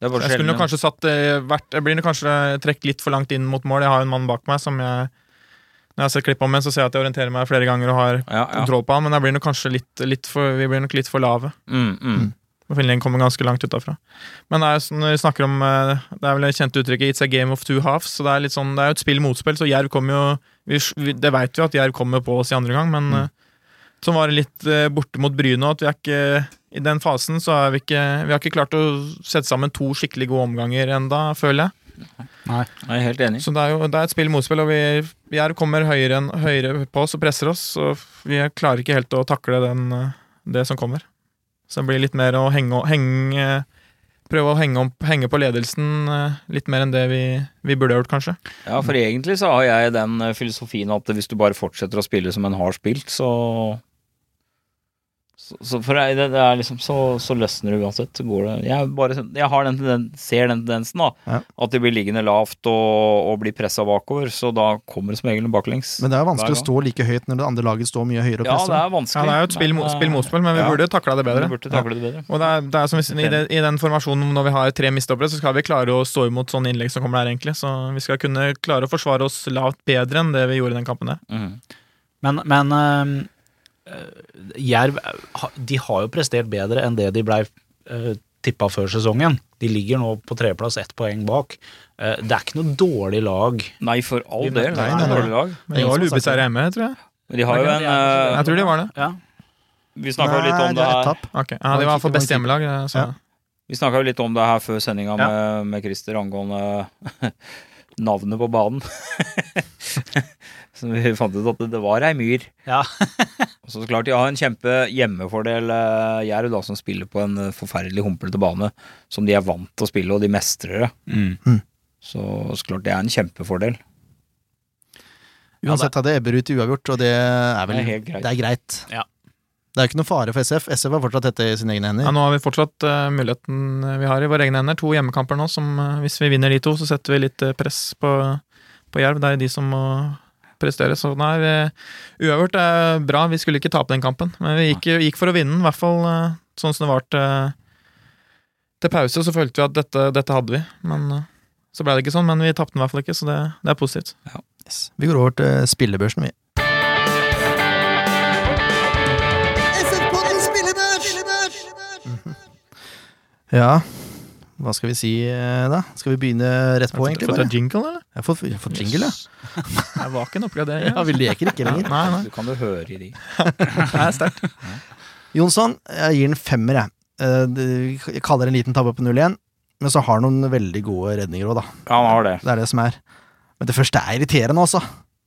Speaker 4: Det er bare
Speaker 5: Jeg skulle nok
Speaker 4: sjelden.
Speaker 5: kanskje satt eh, vært, Jeg blir nok kanskje trukket litt for langt inn mot mål. Jeg har jo en mann bak meg som jeg Når jeg ser klipp om en, så ser jeg at jeg orienterer meg flere ganger og har
Speaker 4: Ja, ja.
Speaker 5: kontroll på han, men jeg blir nok kanskje litt, litt for, vi blir nok litt for lave.
Speaker 4: Mm, mm.
Speaker 5: Finland kommer ganske langt utafra. Men det er, jo sånn, når vi snakker om eh, Det er vel det kjente uttrykket 'it's a game of two halves'. Så Det er litt sånn, det er jo et spill mot spill, så Jerv kommer jo vi, vi- Det vet vi at Jerv kommer på oss i andre gang, men eh, sånn var det litt eh, borte mot Bryne òg, at vi er ikke I den fasen så er vi ikke Vi har ikke klart å sette sammen to skikkelig gode omganger enda, føler jeg.
Speaker 4: Jeg er helt enig.
Speaker 5: Så det er jo det er et spill mot spill, og vi Jerv kommer høyere, enn, høyere på oss og presser oss, og vi klarer ikke helt å takle den, eh, det som kommer. Så det blir litt mer å henge, henge Prøve å henge, opp, henge på ledelsen eh, litt mer enn det vi, vi burde gjort, kanskje.
Speaker 4: Ja, for egentlig så har jeg den eh, filosofien at hvis du bare fortsetter å spille som en har spilt, så så, så for jeg, det, det er liksom så, så løsner det uansett. Så går det Jeg, bare, jeg har den tenden, ser den tendensen, da.
Speaker 3: Ja.
Speaker 4: At de blir liggende lavt og, og blir pressa bakover. Så da kommer det som regel baklengs.
Speaker 3: [laughs] Men det er jo vanskelig å
Speaker 4: Hver gang.
Speaker 3: stå like høyt når det andre laget står mye høyere og
Speaker 4: ja,
Speaker 3: presser.
Speaker 4: det er vanskelig.
Speaker 5: Ja, det er jo et spill,
Speaker 4: men,
Speaker 5: mot-
Speaker 4: eh,
Speaker 5: spill mot spill, men vi
Speaker 4: ja,
Speaker 5: burde takla det bedre.
Speaker 4: Vi burde takle det bedre.
Speaker 5: Og det er, det er som hvis, i, den, I den formasjonen når vi har tre mistoppere, så skal vi klare å stå imot sånne innlegg som kommer der, egentlig. Så vi skal kunne klare å forsvare oss lavt bedre enn det vi gjorde i den kampen der.
Speaker 4: Mm.
Speaker 2: Men, men eh, eh, Jerv eh, ha- de har jo prestert bedre enn det de blei uh, tippa før sesongen. De ligger nå på tredjeplass, ett poeng bak. Eh, det er ikke noe dårlig lag.
Speaker 4: Nei, for all
Speaker 5: Vi-
Speaker 4: del. Det
Speaker 3: nei,
Speaker 4: er
Speaker 3: nei,
Speaker 4: et
Speaker 3: nei.
Speaker 4: dårlig lag.
Speaker 5: Men de
Speaker 3: Ingen som
Speaker 5: var
Speaker 3: har sagt
Speaker 5: ubeseiret hjemme, tror jeg.
Speaker 4: Men de har jo en eh,
Speaker 5: Jeg tror de var det.
Speaker 2: Ja.
Speaker 4: Vi snakka jo litt om
Speaker 3: er
Speaker 4: det
Speaker 3: ett
Speaker 4: her
Speaker 3: tap.
Speaker 5: Ok, ja, De var i hvert fall best hjemmelag. eh, Så.
Speaker 3: Ja.
Speaker 4: Vi snakket jo litt om det her før sendinga med, med Christer angående [laughs] navnet på banen. [laughs] Så vi fant ut at det var ei myr.
Speaker 2: Ja.
Speaker 4: Og [laughs] så klart de har en kjempe hjemmefordel, eh, Jerv, da, som spiller på en eh, forferdelig humplete bane som de er vant til å spille, og de mestrer det.
Speaker 2: Mm.
Speaker 4: Så, så klart det er en kjempefordel.
Speaker 3: Uansett hadde Ebber ut i uavgjort, og det er vel
Speaker 4: Det er helt greit.
Speaker 3: Det er, greit.
Speaker 2: Ja.
Speaker 3: Det er ikke noe fare for SF. SF er fortsatt dette i sine egne hender.
Speaker 5: Ja, nå har vi fortsatt eh, muligheten vi har i våre egne hender. To hjemmekamper nå, som eh, hvis vi vinner de to, så setter vi litt eh, press på, på Jerv. Det er de som må prestere. Så nei, vi- uavgjort er bra. Vi skulle ikke tape den kampen, men vi gikk, gikk for å vinne den, i hvert fall eh, sånn som det var til, til pause. Så følte vi at dette, dette hadde vi, men eh, så ble det ikke sånn. Men vi tapte den i hvert fall ikke, så det, det er positivt.
Speaker 3: Yes. Vi går over til spillebørsen, vi. Mhm. Ja Hva skal vi si eh, da? Skal vi begynne rett på, egentlig?
Speaker 5: Får jeg
Speaker 3: Bare?
Speaker 5: ta jingle, eller?
Speaker 3: Jeg får, jeg får jingle, jeg.
Speaker 5: Det var ikke en oppgradering.
Speaker 3: Ja, vi leker ikke lenger.
Speaker 5: Nei, nei.
Speaker 4: Du kan jo høre i de.
Speaker 3: Jonsson, jeg gir den femmer, jeg. Eh, det- Jeg kaller det en liten tabbe på 0-1, men så har han noen veldig gode redninger òg, da.
Speaker 4: Ja, han har det.
Speaker 3: Det er det som er. Men det første er irriterende, altså.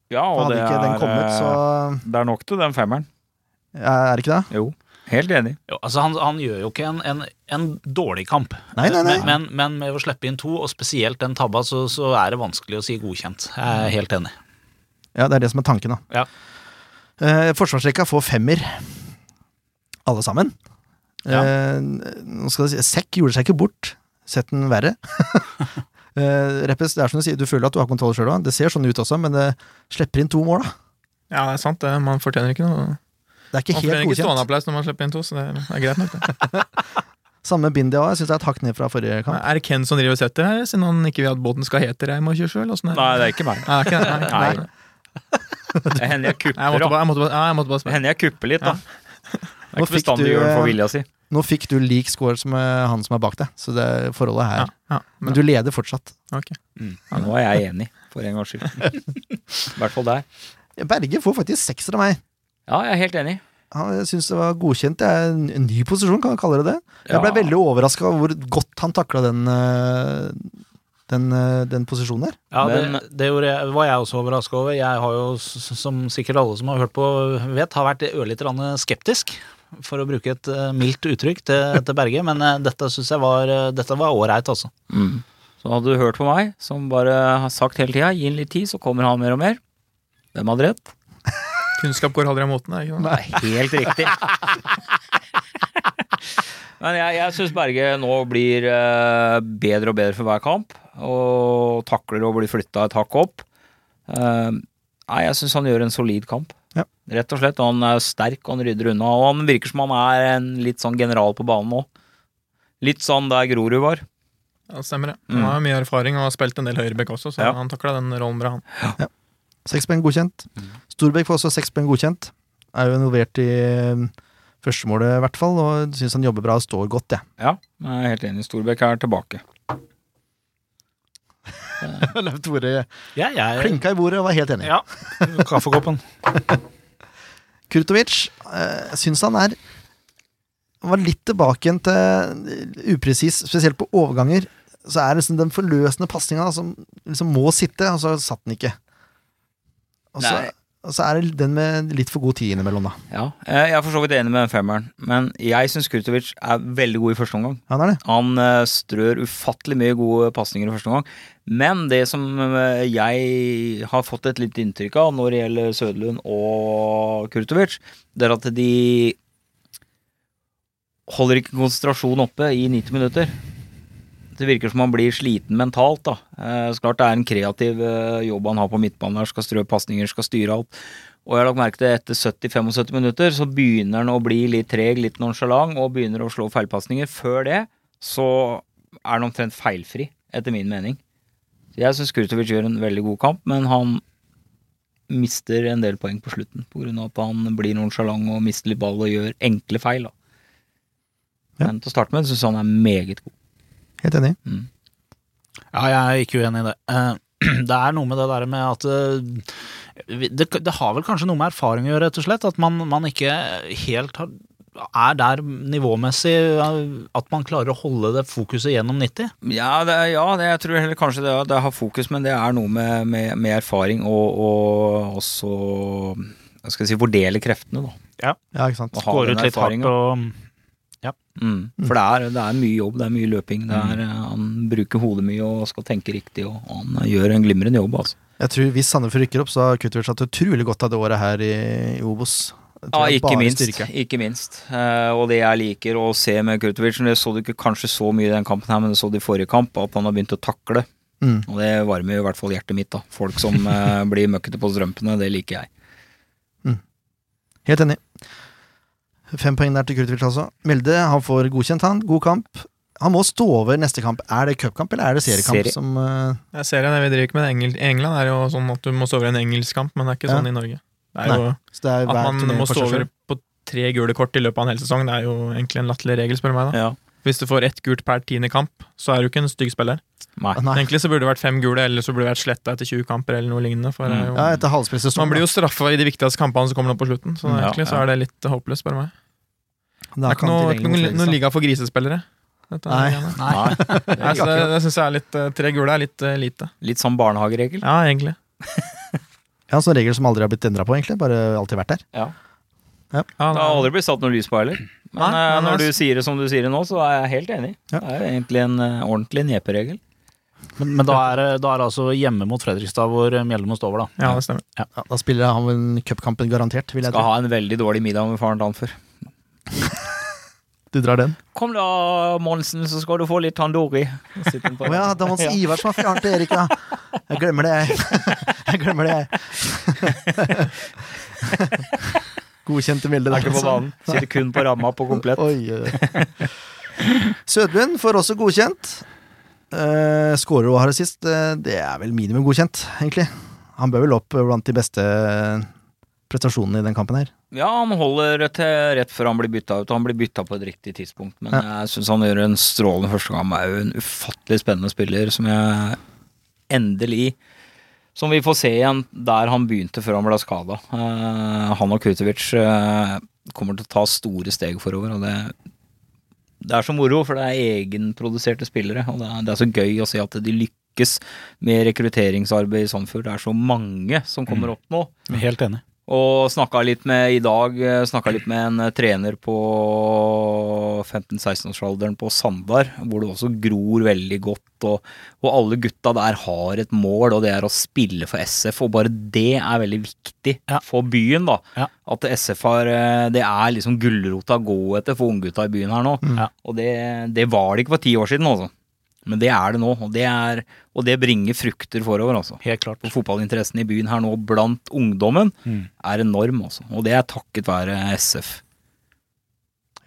Speaker 4: Ja,
Speaker 3: For
Speaker 4: og
Speaker 3: hadde
Speaker 4: det
Speaker 3: ikke den
Speaker 4: er, eh,
Speaker 3: kommet, så
Speaker 4: Det er nok til den femmeren.
Speaker 3: Er det ikke det?
Speaker 4: Jo. Helt enig.
Speaker 2: Jo, altså han, han gjør jo ikke en, en, en dårlig kamp,
Speaker 3: Nei, nei, nei.
Speaker 2: Men, men, men med å slippe inn to, og spesielt den tabba, så, så er det vanskelig å si godkjent. Jeg er helt enig.
Speaker 3: Ja, det er det som er tanken, da.
Speaker 2: Ja.
Speaker 3: Eh, forsvarsrekka får femmer, alle sammen. Eh, nå skal jeg si, Sekk gjorde seg ikke bort. Sett den verre. [laughs] eh, Reppes, det er som du sier, du føler at du har kontroll sjøl òg. Det ser sånn ut også, men det slipper inn to mål, da.
Speaker 5: Ja, det er sant. det. Man fortjener ikke noe.
Speaker 3: Det er ikke
Speaker 5: Man fortjener
Speaker 3: helt
Speaker 5: ikke
Speaker 3: godkjent.
Speaker 5: stående applaus når man slipper inn to, så det er, det er greit
Speaker 3: [laughs]
Speaker 5: nok. det.
Speaker 3: Samme Bindi òg, jeg syns det er et hakk ned fra forrige
Speaker 5: Men
Speaker 3: kamp.
Speaker 5: Er det Ken som driver og setter her, siden han ikke vil at båten skal hete Reima 27? Eller åssen er det?
Speaker 4: Nei, det er ikke meg.
Speaker 5: altså. Nei, det er ikke det. Nei,
Speaker 4: Nei.
Speaker 5: nei.
Speaker 4: Det hender
Speaker 5: Nei, Jeg
Speaker 4: jeg kupper,
Speaker 5: måtte
Speaker 4: da.
Speaker 5: bare, jeg måtte bare, ja, jeg måtte bare
Speaker 4: Det
Speaker 5: spørre.
Speaker 4: hender jeg kupper litt, da. Det er
Speaker 3: Nå
Speaker 4: ikke
Speaker 3: fikk
Speaker 4: bestandig
Speaker 3: du,
Speaker 4: å gjøre det
Speaker 3: eh,
Speaker 4: for vilja si.
Speaker 3: Nå fikk du lik score som eh, han som er bak deg, så det forholdet er
Speaker 5: Ja,
Speaker 3: her.
Speaker 5: ja,
Speaker 3: Men du leder fortsatt.
Speaker 5: ok.
Speaker 4: Men nå er jeg enig, for en gangs skyld. [laughs] I hvert fall der.
Speaker 3: Berge får faktisk sekser av meg.
Speaker 4: Ja, jeg er helt enig.
Speaker 3: Han, jeg syns det var godkjent. Det er en en ny posisjon, kan vi kalle det det. Jeg ble
Speaker 4: Ja.
Speaker 3: veldig overraska over hvor godt han takla den, øh, den, øh, den posisjonen der.
Speaker 2: Ja,
Speaker 4: Men-
Speaker 2: det, det gjorde jeg, var jeg også overraska over. Jeg har jo, s- som sikkert alle som har hørt på vet, har vært ørlite grann skeptisk, for å bruke et eh, mildt uttrykk til, til Berge. Men eh, dette syns jeg var eh, Dette var ålreit, altså.
Speaker 4: Mm. Så hadde du hørt på meg, som bare har sagt hele tida, gi han litt tid, så kommer han mer og mer. Hvem hadde rett?
Speaker 5: Kunnskap går aldri av moten, er det ikke det?
Speaker 4: Det er helt riktig. Men jeg, jeg syns Berge nå blir eh, bedre og bedre for hver kamp. Og takler å bli flytta et hakk opp. Eh, nei, jeg syns han gjør en solid kamp.
Speaker 3: Ja.
Speaker 4: Rett og slett. og Han er sterk, og han rydder unna. Og han virker som han er en litt sånn general på banen nå. Litt sånn der Grorud var.
Speaker 5: Ja, det stemmer det.
Speaker 4: Mm.
Speaker 5: Han har mye erfaring og har spilt en del høyrebekk også, så
Speaker 4: Ja.
Speaker 5: han takla den rollen bra, han.
Speaker 3: Seks poeng godkjent. Storbekk får også seks poeng godkjent. Er jo involvert i øh, førstemålet, i hvert fall, og syns han jobber bra og står godt, jeg.
Speaker 4: Ja, jeg er helt enig. Storbekk er tilbake.
Speaker 3: Leif Tore
Speaker 2: Jeg, jeg,
Speaker 3: klinka i bordet og var helt enig.
Speaker 2: ja. Kaffekoppen.
Speaker 3: Kurtovic øh, syns han er var litt tilbake igjen til upresis, spesielt på overganger. Så er det liksom den forløsende pasninga som liksom må sitte, og så satt den ikke. Og så,
Speaker 4: Nei.
Speaker 3: og så er det den med litt for god tid innimellom, da.
Speaker 4: Ja, eh, jeg er for så vidt enig med den femmeren, men jeg syns Kurtovic er veldig god i første omgang.
Speaker 3: Han er det.
Speaker 4: Han eh, strør ufattelig mye gode pasninger i første omgang. Men det som eh, jeg har fått et litt inntrykk av når det gjelder Søderlund og Kurtovic, det er at de holder ikke konsentrasjonen oppe i 90 minutter. Det virker som han blir sliten mentalt. da. Eh, Så klart det er en kreativ eh, jobb han har på midtbanen. her, Skal strø pasninger, skal styre alt. Og jeg har lagt merke til etter 70-75 minutter så begynner han å bli litt treg, litt nonsjalant, og begynner å slå feilpasninger. Før det så er han omtrent feilfri, etter min mening. Så jeg syns Kurtovic gjør en veldig god kamp, men han mister en del poeng på slutten pga. at han blir nonsjalant og mister litt ball og gjør enkle feil. Da.
Speaker 3: Ja.
Speaker 4: Men til å starte med syns han er meget god.
Speaker 3: Helt enig.
Speaker 2: Ja, jeg er ikke uenig i det. Eh, [clears throat] Det er noe med det der med at eh, vi- Det, det har vel kanskje noe med erfaring å gjøre, rett og slett. At man, man ikke helt har, er der nivåmessig eh, at man klarer å holde det fokuset gjennom 90.
Speaker 4: Ja, det, er- ja det, jeg tror heller kanskje det, det har fokus, men det er noe med, med, med erfaring og, og også hva skal jeg si, fordele kreftene, da.
Speaker 3: Ja, ikke sant.
Speaker 4: Og ha
Speaker 2: Går
Speaker 4: den
Speaker 2: ut litt hardt
Speaker 4: erfaringen.
Speaker 2: og
Speaker 4: Mm. For det er, det er mye jobb, det er mye løping. Det er, eh, Han bruker hodet mye og skal tenke riktig, og han eh, gjør en glimrende jobb. Altså.
Speaker 3: Jeg tror Hvis Sandefjord rykker opp, så har Kutovic hatt utrolig godt av det året her i, i Obos. Det tror
Speaker 4: Ja,
Speaker 3: jeg
Speaker 4: ikke
Speaker 3: bare
Speaker 4: minst.
Speaker 3: styrke.
Speaker 4: Ikke minst. Eh, og det jeg liker å se med Kurtovic, det så du ikke kanskje så mye i den kampen her, men det så du i forrige kamp, at han har begynt å takle.
Speaker 3: Mm.
Speaker 4: Og det varmer jo i hvert fall hjertet mitt, da. Folk som eh, blir møkkete på strømpene, det liker jeg.
Speaker 3: Helt enig. Fem poeng der til Kurtovic altså. Melde han får godkjent, han. God kamp. Han må stå over neste kamp. Er det cupkamp eller er det seriekamp?
Speaker 4: Serie.
Speaker 3: Som, eh,
Speaker 5: Jeg ser det, vi driver ikke med det. Engel- I England er det jo sånn at du må stå over en engelsk kamp, men det er ikke
Speaker 3: Ja.
Speaker 5: sånn i Norge. Det
Speaker 3: Nei.
Speaker 5: er jo
Speaker 3: så det er
Speaker 5: At
Speaker 3: hver
Speaker 5: man
Speaker 3: turnering
Speaker 5: må
Speaker 3: for
Speaker 5: stå
Speaker 3: seg selv.
Speaker 5: over på tre gule kort i løpet av en hel sesong, det er jo egentlig en latterlig regel, spør du meg. da
Speaker 4: Ja.
Speaker 5: Hvis du får ett gult per tiende kamp, så er du ikke en stygg spiller.
Speaker 4: Nei.
Speaker 3: Ah, Nei.
Speaker 5: Egentlig så burde det vært fem gule, eller så burde det vært sletta etter 20 kamper. eller noe lignende for det er jo,
Speaker 3: Ja, etter halvspresset
Speaker 5: Man blir jo straffa i de viktigste kampene som kommer nå på slutten, så
Speaker 4: Ja,
Speaker 5: egentlig så
Speaker 4: ja.
Speaker 5: er det litt håpløst, spør du meg. Det er ikke noe, ikke noen, noen liga for grisespillere. Dette er
Speaker 3: Nei.
Speaker 5: [laughs] greiene.
Speaker 4: Nei.
Speaker 5: Nei, så det det syns jeg er litt eh, Tre gule er litt eh, lite.
Speaker 4: Litt sånn barnehageregel.
Speaker 5: Ja, egentlig.
Speaker 3: Ja, sånn regel som aldri har blitt endra på, egentlig. Bare alltid vært der.
Speaker 5: Ja,
Speaker 4: Det har aldri blitt satt noe lys på heller. Men
Speaker 5: Nei,
Speaker 4: eh,
Speaker 5: men
Speaker 4: når du
Speaker 5: det
Speaker 4: sier det som du sier det nå, så er jeg helt enig.
Speaker 3: Ja.
Speaker 4: Det er jo egentlig en eh, ordentlig neperegel.
Speaker 2: Men, men da, er, det- da er det altså hjemme mot Fredrikstad hvor Mjelde må stå over, da.
Speaker 5: ja, det stemmer.
Speaker 3: Ja, da spiller han vel cupkampen garantert, vil jeg
Speaker 4: Skal
Speaker 3: tro.
Speaker 4: ha en veldig dårlig middag med faren dagen før.
Speaker 3: Du drar den.
Speaker 4: Kom da, Monsen, så skal du få litt tandori.
Speaker 3: Å
Speaker 4: [laughs]
Speaker 3: [laughs] ja, det var Hans Ivar som har fjern til Erik, da. Jeg glemmer det, jeg. [laughs] Jeg glemmer det, [laughs] jeg. Godkjente Mjelde
Speaker 4: Er
Speaker 3: der,
Speaker 4: ikke på
Speaker 3: altså.
Speaker 4: banen. Sitter kun på ramma på komplett.
Speaker 3: Oi, oi,
Speaker 4: [laughs]
Speaker 3: oi. Sødlund får også godkjent. Uh, Skårer og har assist. eh, det er vel minimum godkjent, egentlig. Han bør vel opp blant de beste prestasjonene i den kampen her.
Speaker 4: Ja, han holder til rett før han blir bytta ut. Han blir bytta på et riktig tidspunkt, men jeg syns han gjør en strålende første gang. Han er jo en ufattelig spennende spiller som jeg endelig Som vi får se igjen der han begynte før han ble skada. han og Kutovic eh, kommer til å ta store steg forover, og det det er så moro, for det er egenproduserte spillere. Og det er, det er så gøy å se at de lykkes med rekrutteringsarbeid i Sandefjord. Det er så mange som kommer opp nå.
Speaker 2: Helt enig.
Speaker 4: Og snakka litt med i dag eh, snakket litt med en eh, trener på 15-16-årsalderen på Sandar, hvor det også gror veldig godt. Og, og alle gutta der har et mål, og det er å spille for SF. Og bare det er veldig viktig
Speaker 2: Ja.
Speaker 4: for byen, da.
Speaker 2: Ja.
Speaker 4: At SF har eh, Det er liksom gulrota å gå etter for unggutta i byen her nå.
Speaker 2: Mm. Ja.
Speaker 4: Og det, det var det ikke for ti år siden, altså. Men det er det nå, og det, er, og det bringer frukter forover, altså
Speaker 2: Helt klart.
Speaker 4: på fotballinteressen i byen her nå blant ungdommen
Speaker 2: Mm.
Speaker 4: er enorm, altså. Og det er takket være SF.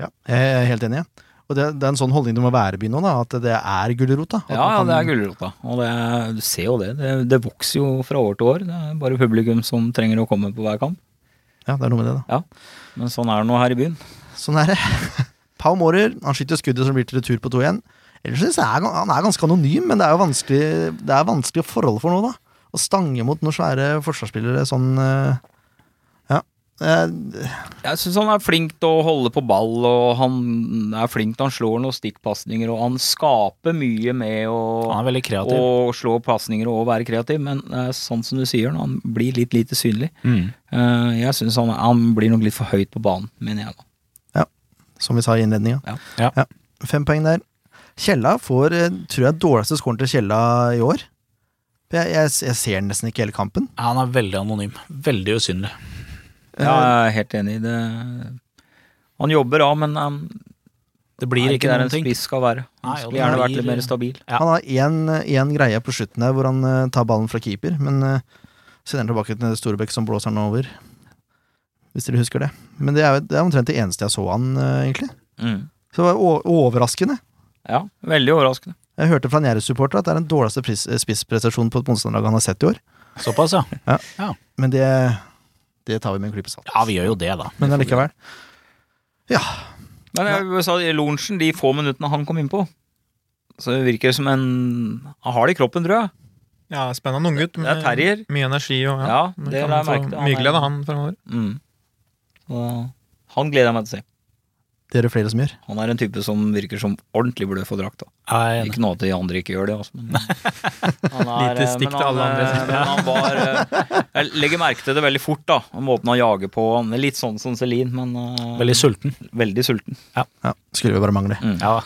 Speaker 3: Ja, jeg er helt enig. jeg. Og det, det er en sånn holdning det må være i byen nå, da, at det er gulrot. da. At
Speaker 4: Ja, ja,
Speaker 3: man
Speaker 4: det er
Speaker 3: kan-
Speaker 4: gulrota. Og det er, du ser jo det. det. Det vokser jo fra år til år. Det er bare publikum som trenger å komme på hver kamp.
Speaker 3: Ja, det er noe med det, da.
Speaker 4: Men sånn er det nå her i byen.
Speaker 3: Sånn er det. [laughs] Pau Mårer han skyter skuddet som blir til retur på 2-1. Ellers synes jeg han- han er ganske anonym, men det er jo vanskelig, det er vanskelig forhold for noe, da. Å stange mot noen svære forsvarsspillere sånn eh, Ja. Eh,
Speaker 4: Jeg syns han er flink til å holde på ball, og han er flink til han slår noen stikkpasninger, og han skaper mye med å
Speaker 2: Han er veldig kreativ.
Speaker 4: å slå pasninger og være kreativ, men eh, sånn som du sier, han blir litt lite synlig.
Speaker 2: Mm.
Speaker 4: Eh, jeg syns han, han blir nok litt for høyt på banen, mener jeg da.
Speaker 3: som vi sa i innledninga.
Speaker 4: Ja.
Speaker 2: Ja.
Speaker 3: Fem poeng der. Kjella får, eh, tror jeg, dårligste scoren til Kjella i år. For Jeg, jeg, jeg ser nesten ikke hele kampen.
Speaker 2: Ja, Han er veldig anonym. Veldig usynlig.
Speaker 4: Ja, jeg er helt enig. Det han jobber av, men han
Speaker 2: Det blir
Speaker 4: er
Speaker 2: ikke
Speaker 4: ikke der
Speaker 2: noen
Speaker 4: en
Speaker 2: ting.
Speaker 4: spiss skal være. Han
Speaker 2: Nei, og
Speaker 4: skulle
Speaker 2: det
Speaker 4: gjerne vært
Speaker 2: blir-
Speaker 4: litt mer stabil.
Speaker 2: Ja.
Speaker 3: Han har én- én greie på slutten der hvor han eh, tar ballen fra keeper, men eh, sender den tilbake til Storebekk som blåser den over. Hvis dere husker det. Men det er, jo- det er omtrent det eneste jeg så han, eh, egentlig.
Speaker 4: Mm.
Speaker 3: Så det var o overraskende.
Speaker 4: Ja, veldig overraskende.
Speaker 3: Jeg hørte fra Njære-supportere at det er den dårligste pris- eh, spissprestasjonen på et motstanderlag han har sett i år.
Speaker 2: Såpass, ja.
Speaker 3: Men det, det tar vi med en klype salt.
Speaker 2: Ja, vi gjør jo det, da.
Speaker 3: Men allikevel.
Speaker 4: Men jeg sa Lorentzen, de få minuttene han kom innpå, så det virker som en Han har det i kroppen, tror jeg.
Speaker 5: Ja, spennende unggutt.
Speaker 4: Det er terrier.
Speaker 5: Mye energi og
Speaker 4: Ja, det
Speaker 5: kan få
Speaker 4: la jeg merke til. Han
Speaker 5: Mye
Speaker 4: er-
Speaker 5: glede av han fremover.
Speaker 4: Mm. Så han gleder jeg meg til å se.
Speaker 3: Det er det flere som gjør.
Speaker 4: Han er en type som virker som ordentlig blød for drakta.
Speaker 2: Jeg er enig.
Speaker 4: Ikke noe at de andre ikke gjør det, altså. Men [laughs] han
Speaker 5: Lite
Speaker 4: eh,
Speaker 5: stikk
Speaker 4: men
Speaker 5: til
Speaker 4: han,
Speaker 5: alle andre.
Speaker 4: eh, Men han var eh, Jeg legger merke til det veldig fort, da. og Måten han jager på. Han er litt sånn som Celine, men eh,
Speaker 2: Veldig sulten.
Speaker 4: veldig sulten.
Speaker 3: Ja, Skulle jo bare mangle.
Speaker 4: Mm.
Speaker 2: Ja.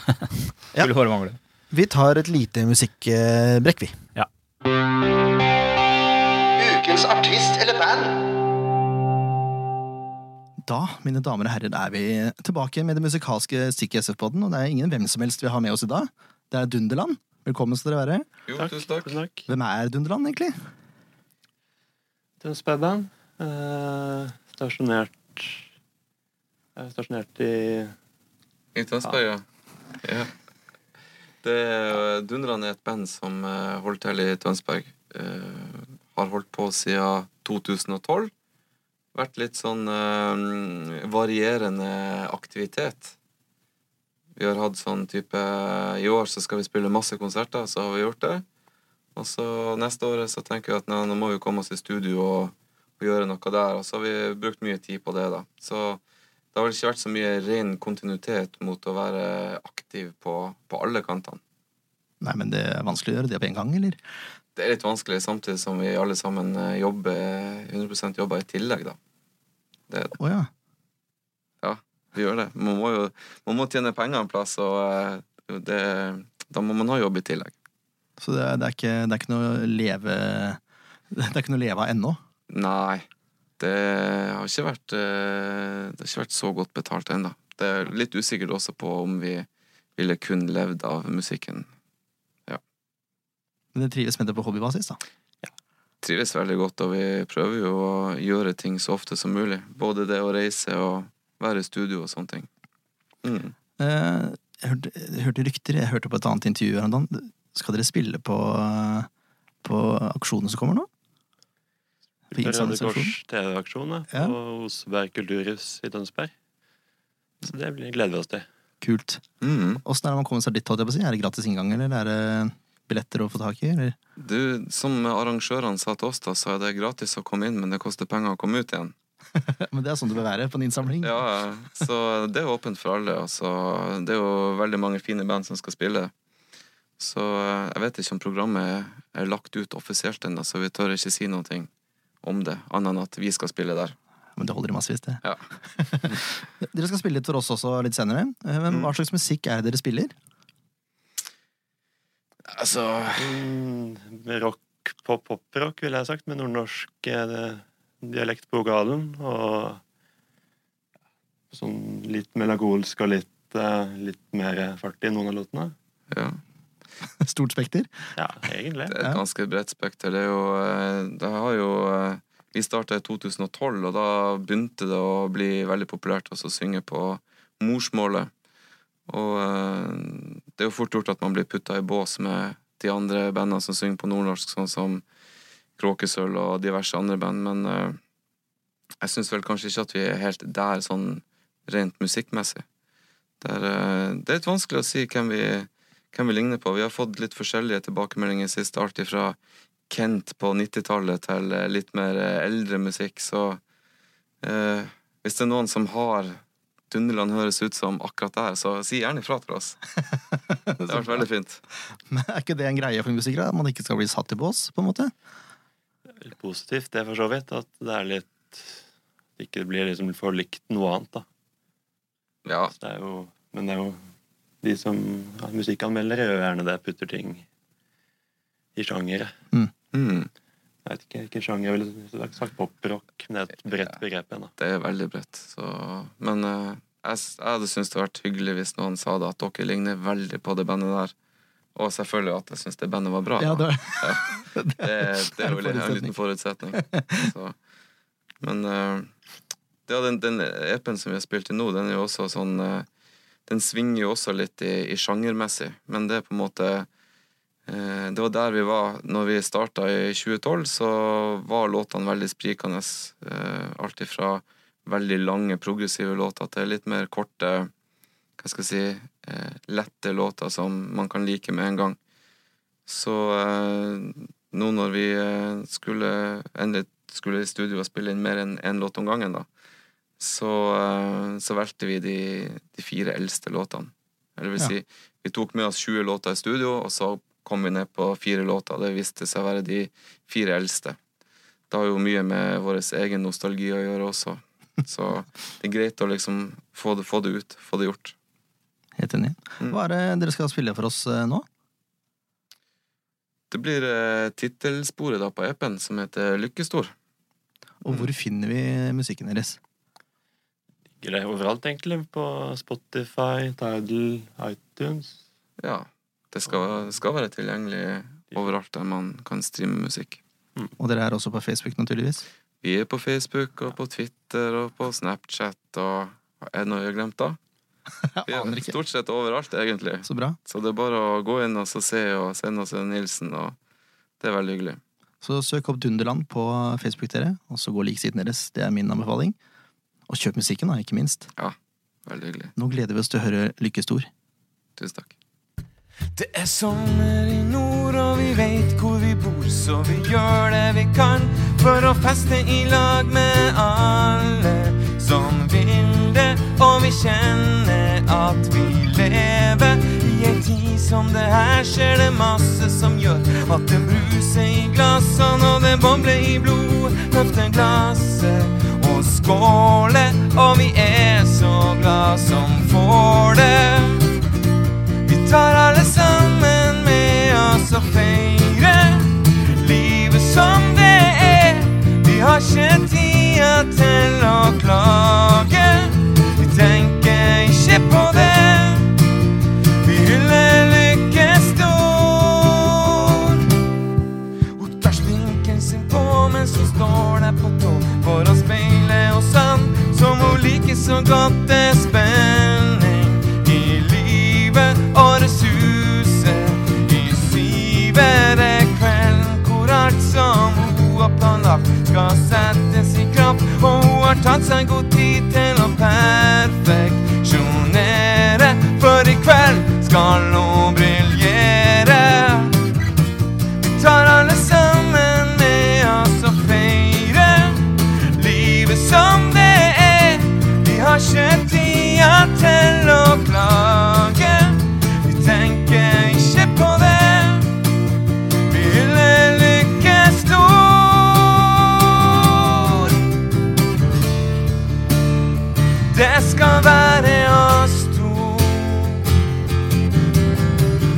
Speaker 3: Ja.
Speaker 4: Skulle bare mangle.
Speaker 3: Vi tar et lite musikkbrekk, vi.
Speaker 2: Ja.
Speaker 3: Ukens artist eller band? Da, mine damer og herrer, er vi tilbake med det musikalske stikket i SF-podden. Og det er ingen hvem som helst vi har med oss i dag. Det er Dunderland. Velkommen skal dere være.
Speaker 6: Jo, takk. tusen takk.
Speaker 3: Hvem er Dunderland, egentlig?
Speaker 6: Tønsbergband. Eh, stasjonert jeg er Stasjonert i
Speaker 7: I Tønsberg, ja. ja. Det er Dundran er et band som eh, holder til i Tønsberg. Eh, har holdt på siden 2012. Vært litt sånn eh, varierende aktivitet. Vi har hatt sånn type I år så skal vi spille masse konserter, så har vi gjort det. Og så neste år så tenker jeg at nei, nå må vi komme oss i studio og, og gjøre noe der. Og så har vi brukt mye tid på det, da. Så det har vel ikke vært så mye ren kontinuitet mot å være aktiv på, på alle kantene.
Speaker 3: Nei, men det er vanskelig å gjøre det på en gang, eller?
Speaker 7: Det er litt vanskelig, samtidig som vi alle sammen eh, jobber 100 jobber i tillegg, da. Det,
Speaker 3: Å ja.
Speaker 7: Vi gjør det. Man må jo man må tjene penger en plass, og eh, det, da må man ha jobb i tillegg.
Speaker 3: Så det er, det er, ikke, det er ikke noe å leve [laughs] Det er ikke noe å leve av ennå.
Speaker 7: Nei, det har ikke vært eh, Det har ikke vært så godt betalt ennå. Det er litt usikkert også på om vi ville kun levd av musikken.
Speaker 3: Men det trives med det på hobbybasis, da.
Speaker 7: Trives veldig godt, og vi prøver jo å gjøre ting så ofte som mulig. Både det å reise og være i studio og sånne ting. Mm.
Speaker 3: Eh, Jeg hørte, jeg hørte rykter, jeg hørte på et annet intervju her om dagen. Skal dere spille på, eh, på aksjonen som kommer nå? På
Speaker 6: Røde
Speaker 3: innsamlingsaksjonen?
Speaker 6: Kors TV-aksjon da,
Speaker 3: Ja.
Speaker 6: på Oseberg kulturhus i Tønsberg. Så det blir- gleder vi oss til.
Speaker 3: Kult.
Speaker 7: Mm.
Speaker 3: Åssen er det man kommer seg dit? holdt jeg på å si? Er det gratis inngang, eller er det billetter å få tak i? Eller?
Speaker 7: Du, som arrangørene sa til oss, da, så er det gratis å komme inn, men det koster penger å komme ut igjen.
Speaker 3: Men det er sånn det bør være på en innsamling.
Speaker 7: Ja, så det er åpent for alle. Altså. Det er jo veldig mange fine band som skal spille. Så eh, jeg vet ikke om programmet er lagt ut offisielt ennå, så vi tør ikke si noe om det, annet enn at vi skal spille der.
Speaker 3: Men det holder i massevis, det.
Speaker 7: Ja.
Speaker 3: [laughs] dere skal spille litt for oss også litt senere. Eh, Men
Speaker 7: Mm.
Speaker 3: hva slags musikk er det dere spiller? [laughs]
Speaker 7: Altså
Speaker 6: Mm, rock, pop, poprock, ville jeg sagt, med nordnorsk eh, dialekt på vokalen. Og sånn litt melankolsk og litt, eh, litt mer fart i noen av låtene.
Speaker 7: ja.
Speaker 3: Stort spekter.
Speaker 6: Ja, egentlig.
Speaker 7: Det er et ganske bredt spekter. Det er jo, eh, det har jo eh, Vi starta i 2012, og da begynte det å bli veldig populært også å synge på morsmålet. Og eh, det er jo fort gjort at man blir putta i bås med de andre bandene som synger på nordnorsk, sånn som Kråkesølv og diverse andre band, men eh, jeg syns vel kanskje ikke at vi er helt der sånn rent musikkmessig. Det er, eh, det er litt vanskelig å si hvem vi hvem vi ligner på. Vi har fått litt forskjellige tilbakemeldinger sist, alt fra Kent på 90-tallet til eh, litt mer eh, eldre musikk, så eh, hvis det er noen som har Dunderland høres ut som akkurat der, så si gjerne ifra til
Speaker 3: [laughs]
Speaker 7: oss. Det har vært veldig fint.
Speaker 3: Men er ikke det en greie for musikere? At man ikke skal bli satt i bås, på en måte?
Speaker 6: Litt positivt, det, for så vidt. At det er litt at Ikke det blir liksom for likt noe annet, da.
Speaker 7: Ja,
Speaker 6: Så det er jo, men det er jo de som ja, musikkanmeldere gjør gjerne det, putter ting i sjangere.
Speaker 7: mm,
Speaker 6: Jeg vet ikke hvilken sjanger jeg ville sagt poprock, men det er et bredt begrep igjen, da.
Speaker 7: det er veldig bredt. Så. Men eh, jeg, s- jeg hadde syntes det hadde vært hyggelig hvis noen sa det, at dere ligner veldig på det bandet der. Og selvfølgelig at jeg syns det bandet var bra.
Speaker 3: Ja,
Speaker 7: da.
Speaker 3: det er
Speaker 7: Ja, det, det
Speaker 3: en
Speaker 7: er jo litt- en liten forutsetning. Så. Men eh, ja, den, den EP-en som vi har spilt i nå, den er jo også sånn eh, Den svinger jo også litt i, i sjangermessig, men det er på en måte eh, Det var der vi var når vi starta i 2012, så var låtene veldig sprikende. eh, Alt ifra veldig lange, progressive låter til litt mer korte, hva skal jeg si, eh, lette låter som man kan like med en gang. Så eh, nå når vi eh, skulle endelig skulle i studio og spille inn mer enn én låt om gangen, da, så, eh, så valgte vi de, de fire eldste låtene. Eller vil
Speaker 3: Ja.
Speaker 7: si, vi tok med oss 20 låter i studio, og så kom vi ned på fire låter. Det viste seg å være de fire eldste. Det har jo mye med vår egen nostalgi å gjøre også. Så det er greit å liksom få det, få det ut, få det gjort. Mm.
Speaker 3: Helt enig. Hva er det dere skal spille for oss eh, nå?
Speaker 7: Det blir eh, tittelsporet da på EP-en, som heter Lykkestor.
Speaker 3: Og
Speaker 7: Mm.
Speaker 3: hvor finner vi musikken deres?
Speaker 6: ligger det overalt, egentlig. På Spotify, Tidal, iTunes.
Speaker 7: Ja. Det skal, skal være tilgjengelig overalt der man kan streame musikk.
Speaker 3: Og dere er også på Facebook, naturligvis.
Speaker 7: Vi er på Facebook og på Twitter og på Snapchat og Er det noe jeg har
Speaker 3: [laughs]
Speaker 7: glemt, da? Vi
Speaker 3: aner
Speaker 7: er
Speaker 3: ikke.
Speaker 7: stort sett overalt, egentlig.
Speaker 3: Så bra.
Speaker 7: Så det er bare å gå inn og så se og sende oss en hilsen, og det er veldig hyggelig.
Speaker 3: Så søk opp Dunderland på Facebook, dere, og så gå lik siden deres. Det er min anbefaling. Og kjøp musikken, da, ikke minst.
Speaker 7: Ja, veldig hyggelig.
Speaker 3: Nå gleder vi oss til å høre Lykke Stor.
Speaker 8: Tusen takk.
Speaker 7: Det er sommer i nord, og vi veit hvor vi bor, så vi gjør det vi kan for å feste i lag med alle som vil det. Og vi kjenner at vi lever i ei tid som det her skjer det masse som gjør at det bruser i glassene, og det bobler i blod. Løfter glasset og skåler, og vi er så glad som får det. Vi tar alle sammen med oss og feirer livet som det er. Vi har ikke tida til å klage. Vi tenker ikke på det. Vi hyller lykken stor. Hun tar sminken sin på mens hun står der på tå for å speile oss an, som hun liker så godt. Det er spenning i livet, og det suser i sivet. Det er kvelden hvor alt som hun har planlagt, skal settes i kraft. Og hun har tatt seg god tid til å perfeksjonere, for i kveld skal hun briljere. Vi tar alle sammen med oss og feirer livet som det er. Vi har ikke tida til å klage. Vi tenker ikke på det. Vi hyller lykken stor. Det skal være oss to.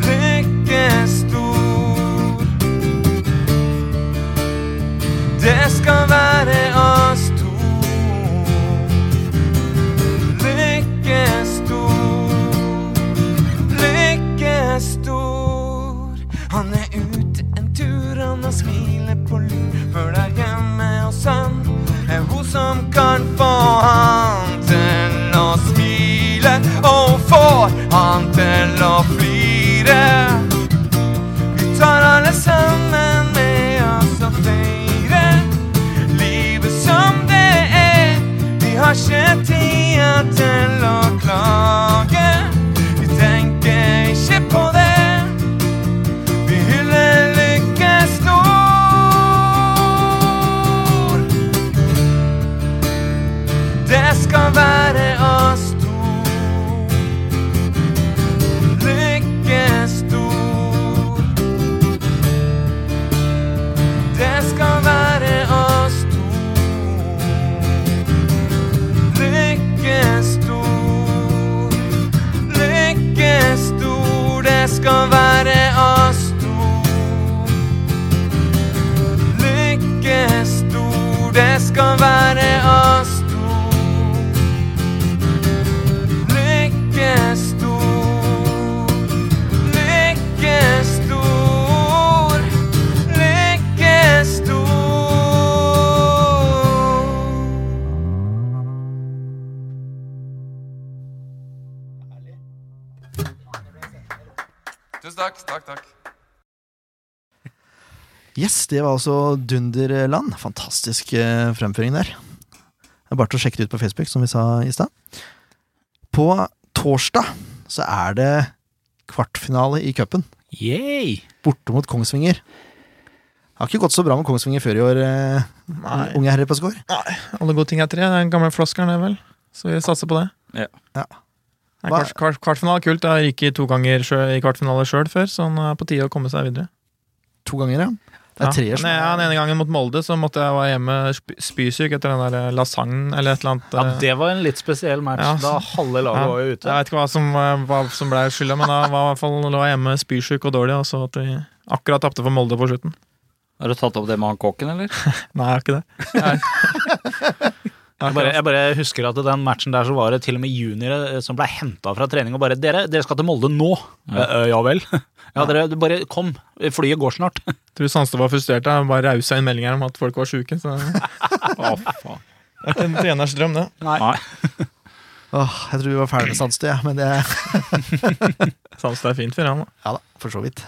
Speaker 7: Lykken stor. Det skal være oss to. Lykken stor. Lykken stor. Han er ute en tur, han har smilet på lur. For der hjemme hos han er hun som kan få han til å smile. Og hun får han til å flire. Vi tar alle sammen med oss og feirer livet som det er. Vi har ikke tida til å klage. Vi tenker ikke på det. Vi hyller lykken stor. Det skal være oss to. Lykken stor. Det skal være oss to. Lykken stor. Lykken stor. Det skal være oss to. Lykken stor. Det skal være oss to. Lykke stor, lykke stor, lykke stor.
Speaker 8: Tusen takk. Takk, takk.
Speaker 3: Yes, det var altså Dunderland. Fantastisk eh, fremføring der. Det er bare til å sjekke det ut på Facebook, som vi sa i stad. På torsdag så er det kvartfinale i cupen,
Speaker 2: [laughs] Yay!
Speaker 3: borte mot Kongsvinger. Det har ikke gått så bra med Kongsvinger før i år, eh, unge herrer på skår.
Speaker 5: Alle gode ting er tre. Den gamle floskelen er vel. Så vi satser på det.
Speaker 4: Ja.
Speaker 3: Ja.
Speaker 5: Nei,
Speaker 3: Hva-
Speaker 5: kvart, kvart, kvartfinale er kult. Jeg har ryket to ganger sjø- i kvartfinale sjøl før, så han er på tide å komme seg videre.
Speaker 3: To ganger, ja. Det
Speaker 5: Ja.
Speaker 3: er treer
Speaker 5: Men
Speaker 3: som
Speaker 5: jeg- Den ene gangen mot Molde så måtte jeg være hjemme sp- spysyk etter den der lasagne eller et eller annet.
Speaker 2: Ja,
Speaker 5: eh,
Speaker 2: det var en litt spesiell match,
Speaker 5: Ja.
Speaker 2: da halve laget
Speaker 5: Ja.
Speaker 2: var jo
Speaker 5: Jeg
Speaker 2: ute.
Speaker 5: vet ikke hva som, eh, hva som ble skylda, men da var i hvert fall, lå jeg hjemme spysyk og dårlig, og så at vi akkurat tapte for Molde på slutten.
Speaker 4: Har du tatt opp det med han kokken, eller?
Speaker 5: Nei, jeg har ikke det. Jeg-
Speaker 2: Jeg bare, jeg bare husker at i den matchen der så var det til og med juniorer eh, som ble henta fra trening og bare 'Dere, dere skal til Molde nå!' Ja, ja vel? [laughs] Ja, dere bare kom. Flyet går snart. [laughs]
Speaker 5: tror Sandstad var frustrert. Jeg bare rausa inn meldinger om at folk var sjuke.
Speaker 3: [laughs]
Speaker 5: Så det
Speaker 4: [laughs] Å, faen.
Speaker 5: er ikke en treners drøm, det.
Speaker 4: Nei.
Speaker 3: Åh, jeg tror vi var ferdig med Sandstø, ja, men det
Speaker 5: Sandstad er fint for han. da.
Speaker 3: Ja da, for så vidt.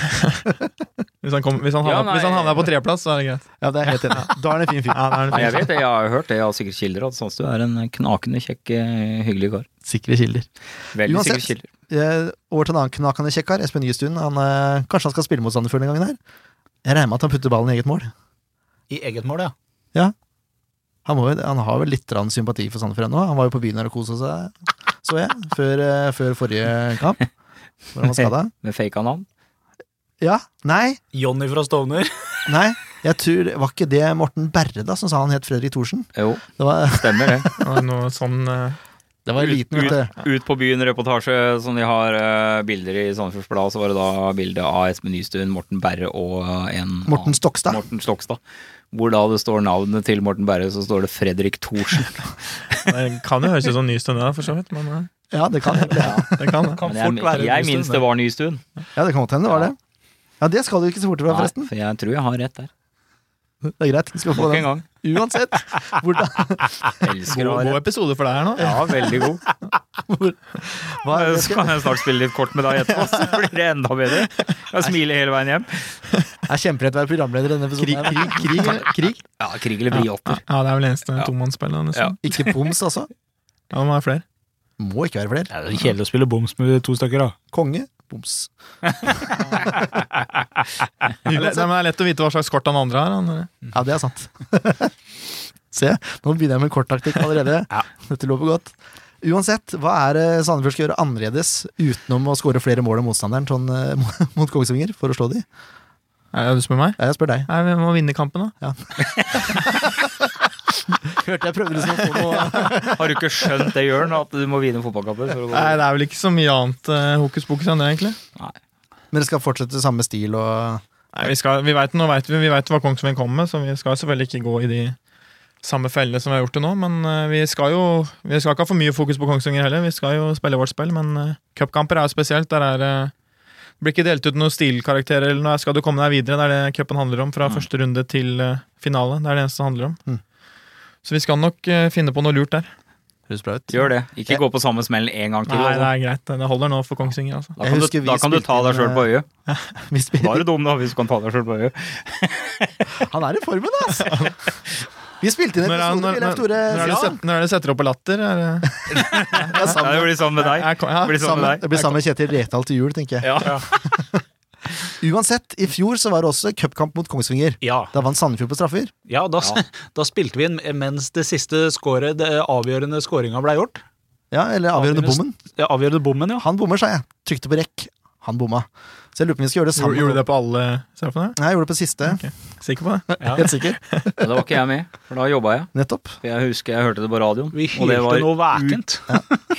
Speaker 5: Hvis han, kom, hvis han,
Speaker 4: Ja,
Speaker 5: havner, hvis han havner på treplass, så er det greit.
Speaker 3: Ja, det er jeg helt enig. i. Da er det en fin fyr.
Speaker 5: Ja, da er det
Speaker 4: Nei,
Speaker 5: fint.
Speaker 4: jeg vet det, jeg har hørt det. Jeg har sikkert kilder. At Sandstø er en knakende kjekk, eh, hyggelig kar.
Speaker 3: Sikre kilder.
Speaker 4: Veldig
Speaker 3: Uansett.
Speaker 4: sikre kilder.
Speaker 3: Eh, over til en annen knakende kjekkar, Espen Nystuen. Han, eh, kanskje han skal spille mot Sandefjord den gangen her? Jeg regner med at han putter ballen i eget mål.
Speaker 2: I eget mål, ja.
Speaker 3: Han, må, jo- han har vel litt grann sympati for Sandefjord ennå. Han var jo på byen her og kosa seg, så jeg, før, eh, før forrige kamp. Hvor han var skada.
Speaker 4: Med faka navn.
Speaker 3: Ja. Nei.
Speaker 2: Jonny fra [laughs] Stovner.
Speaker 3: Nei. Jeg tror, Var ikke det Morten Berre da som sa han het Fredrik Thorsen?
Speaker 4: Jo,
Speaker 3: Det var,
Speaker 4: stemmer det.
Speaker 5: Og Noe sånn eh,
Speaker 3: det [laughs] var eliten, vet du.
Speaker 4: Ut på byen-reportasje som de har eh, bilder i Sandefjords Blad, så var det da bilde av Espen Nystuen, Morten Berre og eh, en
Speaker 3: Morten
Speaker 4: annen-
Speaker 3: Stokstad.
Speaker 4: Morten Stokstad. Hvor da det står navnet til Morten Berre, så står det Fredrik Thorsen.
Speaker 5: [laughs] Det kan jo høres ut som Nystuen, det der, for så vidt. Men eh,
Speaker 3: Ja, det kan ja.
Speaker 5: det kan det.
Speaker 2: Kan
Speaker 4: Men jeg,
Speaker 2: fort være
Speaker 4: jeg,
Speaker 2: Nystuen,
Speaker 4: minnes det var Nystuen.
Speaker 3: Ja, det kan godt hende det var det. Ja, det skal du ikke se bort fra,
Speaker 4: Nei,
Speaker 3: forresten.
Speaker 4: for jeg tror jeg har rett der.
Speaker 3: Det er greit. Du skal få
Speaker 4: Nok en
Speaker 3: den
Speaker 4: gang.
Speaker 3: uansett. [laughs] Hvordan,
Speaker 4: Elsker å
Speaker 5: God,
Speaker 4: ha
Speaker 5: god
Speaker 4: rett.
Speaker 5: episode for deg her nå.
Speaker 4: [laughs] Ja, veldig god.
Speaker 3: hva, jeg
Speaker 4: Så
Speaker 3: skal,
Speaker 4: kan jeg snart spille litt kort med deg etterpå, så blir det enda bedre. Jeg smiler hele veien hjem.
Speaker 3: jeg kjemper etter å være programleder i denne episoden. her.
Speaker 5: krig, krig, krig.
Speaker 4: Ja, krig eller briotter.
Speaker 5: Ja, det er vel eneste tomannsspill. da, nesten.
Speaker 3: Ikke poms, altså.
Speaker 5: Ja, det må være flere.
Speaker 3: Må ikke være flere.
Speaker 2: Det er jo kjedelig å spille boms med to stykker, da.
Speaker 3: Konge, boms.
Speaker 5: Det er lett- nei, men det er lett å vite hva slags kort han andre har. Han, eh.
Speaker 3: Ja, det er sant. [laughs] Se, nå begynner jeg med korttaktikk allerede. Dette lover godt. Uansett, hva er det Sandefjord skal gjøre annerledes utenom å skåre flere mål enn motstanderen sånn, eh, [laughs] mot Kongsvinger for å slå de?
Speaker 5: Er det du spør meg?
Speaker 3: Ja, Jeg spør deg.
Speaker 5: Nei, Vi må vinne kampen, da.
Speaker 3: Hørte jeg prøvde liksom å få noe
Speaker 4: Har du ikke skjønt det, Jørn, at du må vinne fotballkamper? for å gå
Speaker 5: Nei, Det er vel ikke så mye annet eh, hokus pokus enn det, egentlig.
Speaker 3: [laughs] Men det skal fortsette samme stil og
Speaker 5: Nei, Vi, skal, vi vet, nå vet vi, vi vet hva Kongsvinger kommer med, så vi skal selvfølgelig ikke gå i de samme fellene som vi har gjort det nå. Men eh, vi skal jo vi skal ikke ha for mye fokus på Kongsvinger heller. Vi skal jo spille vårt spill, men eh, cupkamper er jo spesielt. Der er eh, det blir ikke delt ut noen stilkarakterer eller noe. Skal du komme deg videre? Det er det cupen handler om. Fra første runde til eh, finale. Det er det eneste det handler om.
Speaker 3: Mm.
Speaker 5: Så vi skal nok eh, finne på noe lurt der.
Speaker 3: Høres bra ut.
Speaker 4: Gjør det. Ikke gå på samme smell en gang til.
Speaker 5: Nei, det
Speaker 4: altså.
Speaker 5: er greit. Det holder nå for Kongsvinger, altså.
Speaker 4: Da
Speaker 3: Jeg
Speaker 4: kan,
Speaker 3: husker
Speaker 4: du,
Speaker 3: vi
Speaker 4: da kan du ta
Speaker 3: spilte
Speaker 4: deg sjøl
Speaker 3: inn,
Speaker 4: på øyet.
Speaker 3: Vi
Speaker 4: Da
Speaker 3: spiller,
Speaker 4: er du dum, da, hvis du kan ta deg sjøl på øyet.
Speaker 3: han er i formen, altså! Vi spilte inn en
Speaker 5: Når er,
Speaker 3: episode
Speaker 5: når,
Speaker 3: med Leif Tore
Speaker 5: når, når er det
Speaker 3: Sian.
Speaker 5: set- når er det setter opp på latter? Er det,
Speaker 3: Ja,
Speaker 4: Nei, det
Speaker 3: sammen.
Speaker 4: blir sammen med deg.
Speaker 5: er, [laughs] ja,
Speaker 4: Det blir sammen
Speaker 3: Sammen.
Speaker 4: med deg.
Speaker 3: Det blir sammen med Kjetil Rekdal til jul, tenker jeg.
Speaker 4: Ja.
Speaker 3: Uansett, i fjor så var det også cupkamp mot Kongsvinger.
Speaker 2: Ja,
Speaker 3: Da vant Sandefjord på straffer.
Speaker 2: ja, da, [laughs] da spilte vi inn mens det siste skåret, det eh, avgjørende skåringa ble gjort.
Speaker 3: Ja, Eller avgjørende
Speaker 2: Avgjørende-
Speaker 3: bommen.
Speaker 2: Det avgjørende bommen, ja.
Speaker 3: Han bommer, sa jeg. Trykte på rekk. Han bomma. Så jeg lurer på om vi skal gjøre det
Speaker 5: Gjorde
Speaker 3: sammen.
Speaker 5: gjorde du det på alle straffene?
Speaker 3: Nei, jeg gjorde det på siste.
Speaker 5: Sikker på det?
Speaker 3: Helt sikker.
Speaker 4: Men da var ikke jeg med, for da jobba jeg.
Speaker 3: Nettopp.
Speaker 4: For jeg husker jeg hørte det på radioen.
Speaker 2: Vi
Speaker 4: og det
Speaker 2: hyrte
Speaker 4: var
Speaker 2: noe vækent.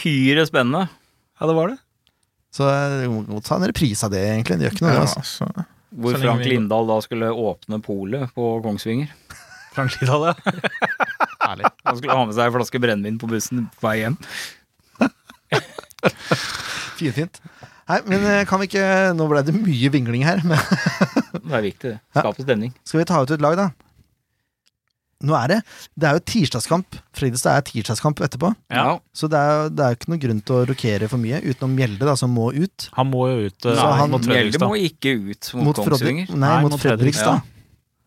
Speaker 4: uhyre spennende.
Speaker 2: Ja, det var det.
Speaker 3: Så jeg må godt ta en reprise av det, egentlig. Det gjør ikke noe. Altså.
Speaker 5: altså. Så
Speaker 4: Hvor
Speaker 5: lenge
Speaker 4: Frank
Speaker 5: vi-
Speaker 4: Lindahl da skulle åpne polet på Kongsvinger.
Speaker 2: Frank Lidahl, ja.
Speaker 4: Han skulle ha med seg ei flaske brennevin på bussen på vei hjem.
Speaker 3: Finfint. Nei, men eh, kan vi ikke Nå ble det mye vingling her, men
Speaker 4: Det er viktig, det. Skape stemning.
Speaker 3: skal vi ta ut et lag, da? Nå er det Det er jo tirsdagskamp. Fredrikstad er tirsdagskamp etterpå.
Speaker 4: Ja.
Speaker 3: Så det er jo det er jo ikke noen grunn til å rokere for mye, utenom Mjelde, da, som må ut.
Speaker 2: Han må jo ut eh,
Speaker 3: Så han-
Speaker 2: mot
Speaker 4: Mjelde må
Speaker 2: Fredrikstad.
Speaker 4: ikke ut mot, Kongsvinger.
Speaker 3: Frodde- Nei, mot, Fredrikstad.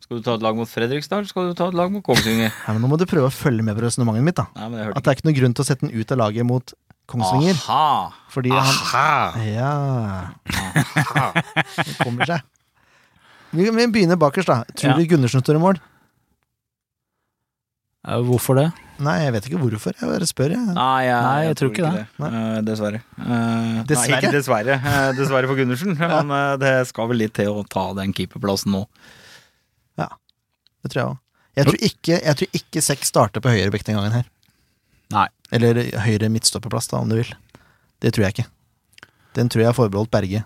Speaker 4: Skal du ta et lag mot Fredrikstad, eller skal du ta et lag mot
Speaker 3: [laughs]
Speaker 4: Kongsvinger?
Speaker 3: Nei, men nå må du prøve å følge med på resonnementet mitt, da.
Speaker 4: Nei, men jeg hørte
Speaker 3: At det er ikke noen grunn til å sette den ut av laget mot Kongsvinger.
Speaker 4: Aha!
Speaker 3: Fordi han Ja. Det kommer seg. Vi, vi begynner bakerst, da. Tror
Speaker 2: Ja.
Speaker 3: du Gundersen står i mål?
Speaker 2: Ja, Hvorfor det?
Speaker 3: Nei, jeg vet ikke hvorfor. Jeg bare spør, jeg.
Speaker 4: Nei, jeg,
Speaker 2: Nei, jeg tror ikke det.
Speaker 4: Eh, dessverre. Eh,
Speaker 3: Dessverre?
Speaker 4: Nei, dessverre. Eh, dessverre for
Speaker 3: [laughs]
Speaker 4: Gundersen. Men eh, det skal vel litt til å ta den keeperplassen nå.
Speaker 3: Det tror jeg òg. Jeg tror ikke, jeg tror ikke Sex starter på høyre bekk den gangen her.
Speaker 2: Nei.
Speaker 3: Eller høyre midtstopperplass, da, om du vil. Det tror jeg ikke. Den tror jeg er forbeholdt Berge.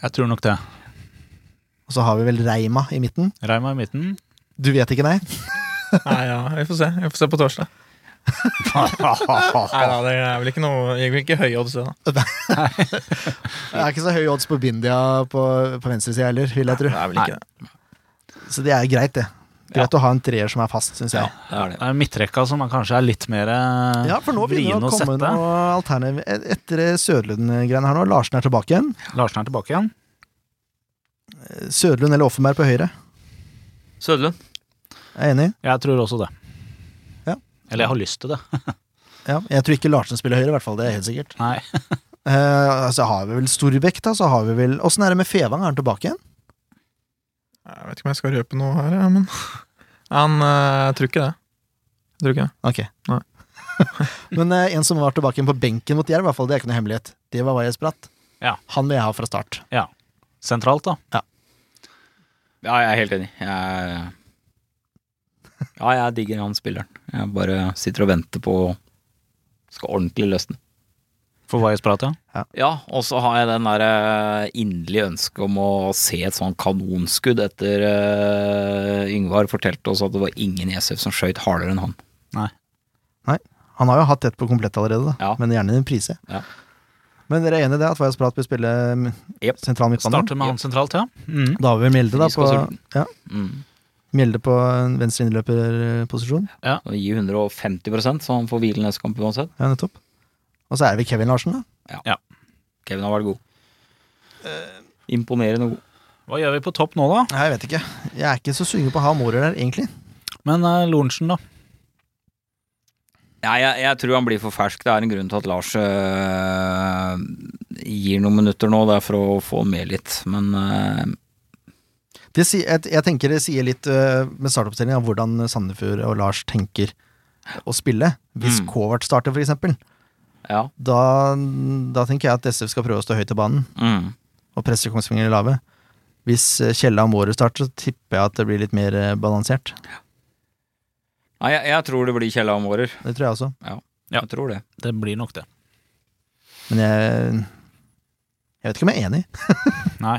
Speaker 2: Jeg tror nok det.
Speaker 3: Og så har vi vel Reima i midten.
Speaker 2: Reima i midten.
Speaker 3: Du vet ikke,
Speaker 5: [laughs]
Speaker 3: nei?
Speaker 5: Nei, ja, vi får se. Vi får se på torsdag. Nei, da, det er vel ikke noe Jeg vil ikke høye odds, det, da.
Speaker 3: Det er ikke så høy odds på Bindia på, på venstresida heller, vil jeg tro.
Speaker 5: Det er vel ikke det.
Speaker 3: Så det er greit, det. Greit å ha en treer som er fast, syns jeg.
Speaker 4: Det er det.
Speaker 2: Det er midtrekka som er kanskje er litt mer eh,
Speaker 3: Ja, for nå begynner
Speaker 2: vrien
Speaker 3: det å komme
Speaker 2: sette.
Speaker 3: noe alternativ et- Etter Sødlund-greiene her nå, Larsen er tilbake igjen.
Speaker 2: Larsen er tilbake igjen.
Speaker 3: Sødlund eller Offenberg på høyre.
Speaker 4: Sødlund.
Speaker 3: Jeg er enig.
Speaker 2: Jeg tror også det.
Speaker 3: Ja.
Speaker 2: Eller jeg har lyst til det.
Speaker 3: Ja, jeg tror ikke Larsen spiller høyre, i hvert fall. Det er helt sikkert.
Speaker 2: Nei.
Speaker 3: [laughs] Eh, så har vi vel Storbekk, da. Så har vi vel Åssen er det med Fevang? Er han tilbake igjen?
Speaker 5: Jeg vet ikke om jeg skal røpe noe her, ja, men Han eh, Jeg tror ikke det. Jeg tror ikke det.
Speaker 3: Ok.
Speaker 5: Nei.
Speaker 3: [laughs] Men eh, en som var tilbake igjen på benken mot Jerv, i hvert fall, det er ikke noe hemmelighet. Det var Vajes Bratt.
Speaker 2: Ja.
Speaker 3: Han vil jeg ha fra start.
Speaker 2: sentralt, da.
Speaker 4: Ja, jeg er helt enig. Jeg, ja, jeg digger han spilleren. Jeg bare sitter og venter på Skal ordentlig løsne.
Speaker 2: For Vajas prat, ja.
Speaker 4: Ja, og så har jeg den der eh, inderlige ønsket om å se et sånn kanonskudd etter eh, Yngvar fortalte oss at det var ingen i SF som skøyt hardere enn han.
Speaker 3: Han har jo hatt ett på komplett allerede, da.
Speaker 4: Ja.
Speaker 3: men gjerne i en prise.
Speaker 4: Ja.
Speaker 3: Men dere er enig i det, at Vajes Bratt bør spille mm,
Speaker 4: Jep.
Speaker 3: sentral midtbane?
Speaker 2: Starter med han sentralt, ja. Mm.
Speaker 3: Da har vi Mjelde, da.
Speaker 4: Frisk
Speaker 3: På,
Speaker 4: og sulten.
Speaker 3: ja,
Speaker 4: Mm.
Speaker 3: Mjelde på en venstre innløperposisjon.
Speaker 4: Så Gi 150 så han får hvile neste kamp uansett.
Speaker 3: Ja, nettopp. Og så er det Kevin Larsen, da.
Speaker 4: Kevin har vært god. Imponerende god.
Speaker 2: Hva gjør vi på topp nå, da?
Speaker 3: Nei, Jeg vet ikke. Jeg er ikke så sugen på å ha Mårer der, egentlig.
Speaker 2: Men eh, Lorentzen, da?
Speaker 4: Nei, jeg, jeg tror han blir for fersk. Det er en grunn til at Lars øh, gir noen minutter nå. Det er for å få han med litt. Men øh,
Speaker 3: Det sier, jeg, jeg tenker det sier litt øh, med startoppstillingen av hvordan Sandefjord og Lars tenker å spille. Hvis
Speaker 4: Mm.
Speaker 3: Kovac starter, for eksempel,
Speaker 4: ja.
Speaker 3: da, da tenker jeg at SF skal prøve å stå høyt i banen
Speaker 4: Mm.
Speaker 3: og presse Kongsvinger i lave. Hvis øh, Kjella og Mårer starter, så tipper jeg at det blir litt mer øh, balansert.
Speaker 4: Nei, jeg, jeg tror det blir Kjell Amorer.
Speaker 3: Det tror jeg også.
Speaker 2: Ja.
Speaker 4: Jeg tror det.
Speaker 2: Det blir nok det.
Speaker 3: Men jeg Jeg vet ikke om jeg er enig.
Speaker 2: Nei.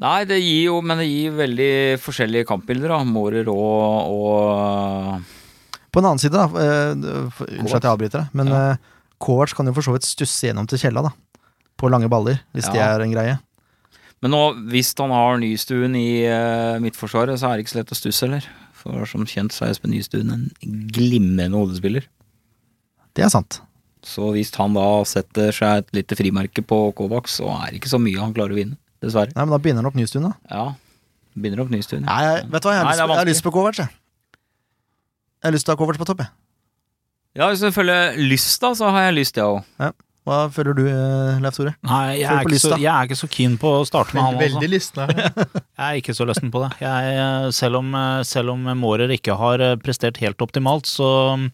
Speaker 4: Nei, det gir jo, men det gir veldig forskjellige kampbilder, da. Mårer og, og
Speaker 3: På en annen side, da øh, øh, for- Unnskyld at jeg avbryter deg, men
Speaker 4: Ja.
Speaker 3: øh, Kovac kan jo for så vidt stusse gjennom til Kjella, da. På lange baller, hvis det
Speaker 4: Ja.
Speaker 3: er en greie.
Speaker 4: Men nå, hvis han har Nystuen i eh, midtforsvaret, så er det ikke så lett å stusse heller. For som kjent så er Espen Nystuen en glimrende hodespiller.
Speaker 3: Det er sant.
Speaker 4: Så hvis han da setter seg et lite frimerke på Kovac, så er det ikke så mye han klarer å vinne. Dessverre.
Speaker 3: Nei, men da begynner han opp Nystuen, da.
Speaker 4: Ja. Begynner opp Nystuen.
Speaker 3: Nei, jeg, vet du hva, jeg har,
Speaker 4: Nei,
Speaker 3: lyst,
Speaker 4: det er
Speaker 3: jeg har
Speaker 4: vanskelig.
Speaker 3: lyst på Kovac, jeg. Jeg har lyst til å ha Kovac på topp, jeg.
Speaker 4: Ja, hvis du følger lyst, da, så har jeg lyst, jeg òg.
Speaker 3: Hva føler du, eh, Leif Tore?
Speaker 2: Nei jeg,
Speaker 3: Følg
Speaker 2: er
Speaker 3: på
Speaker 2: ikke så,
Speaker 3: lista.
Speaker 2: jeg er ikke så keen på å starte
Speaker 5: [laughs]
Speaker 2: med han.
Speaker 5: Veldig,
Speaker 2: Altså.
Speaker 5: veldig
Speaker 2: [laughs]
Speaker 5: listen her.
Speaker 2: Jeg er ikke så lysten på det. Jeg, eh, selv, om, eh, selv om Mårer ikke har eh, prestert helt optimalt, så mm,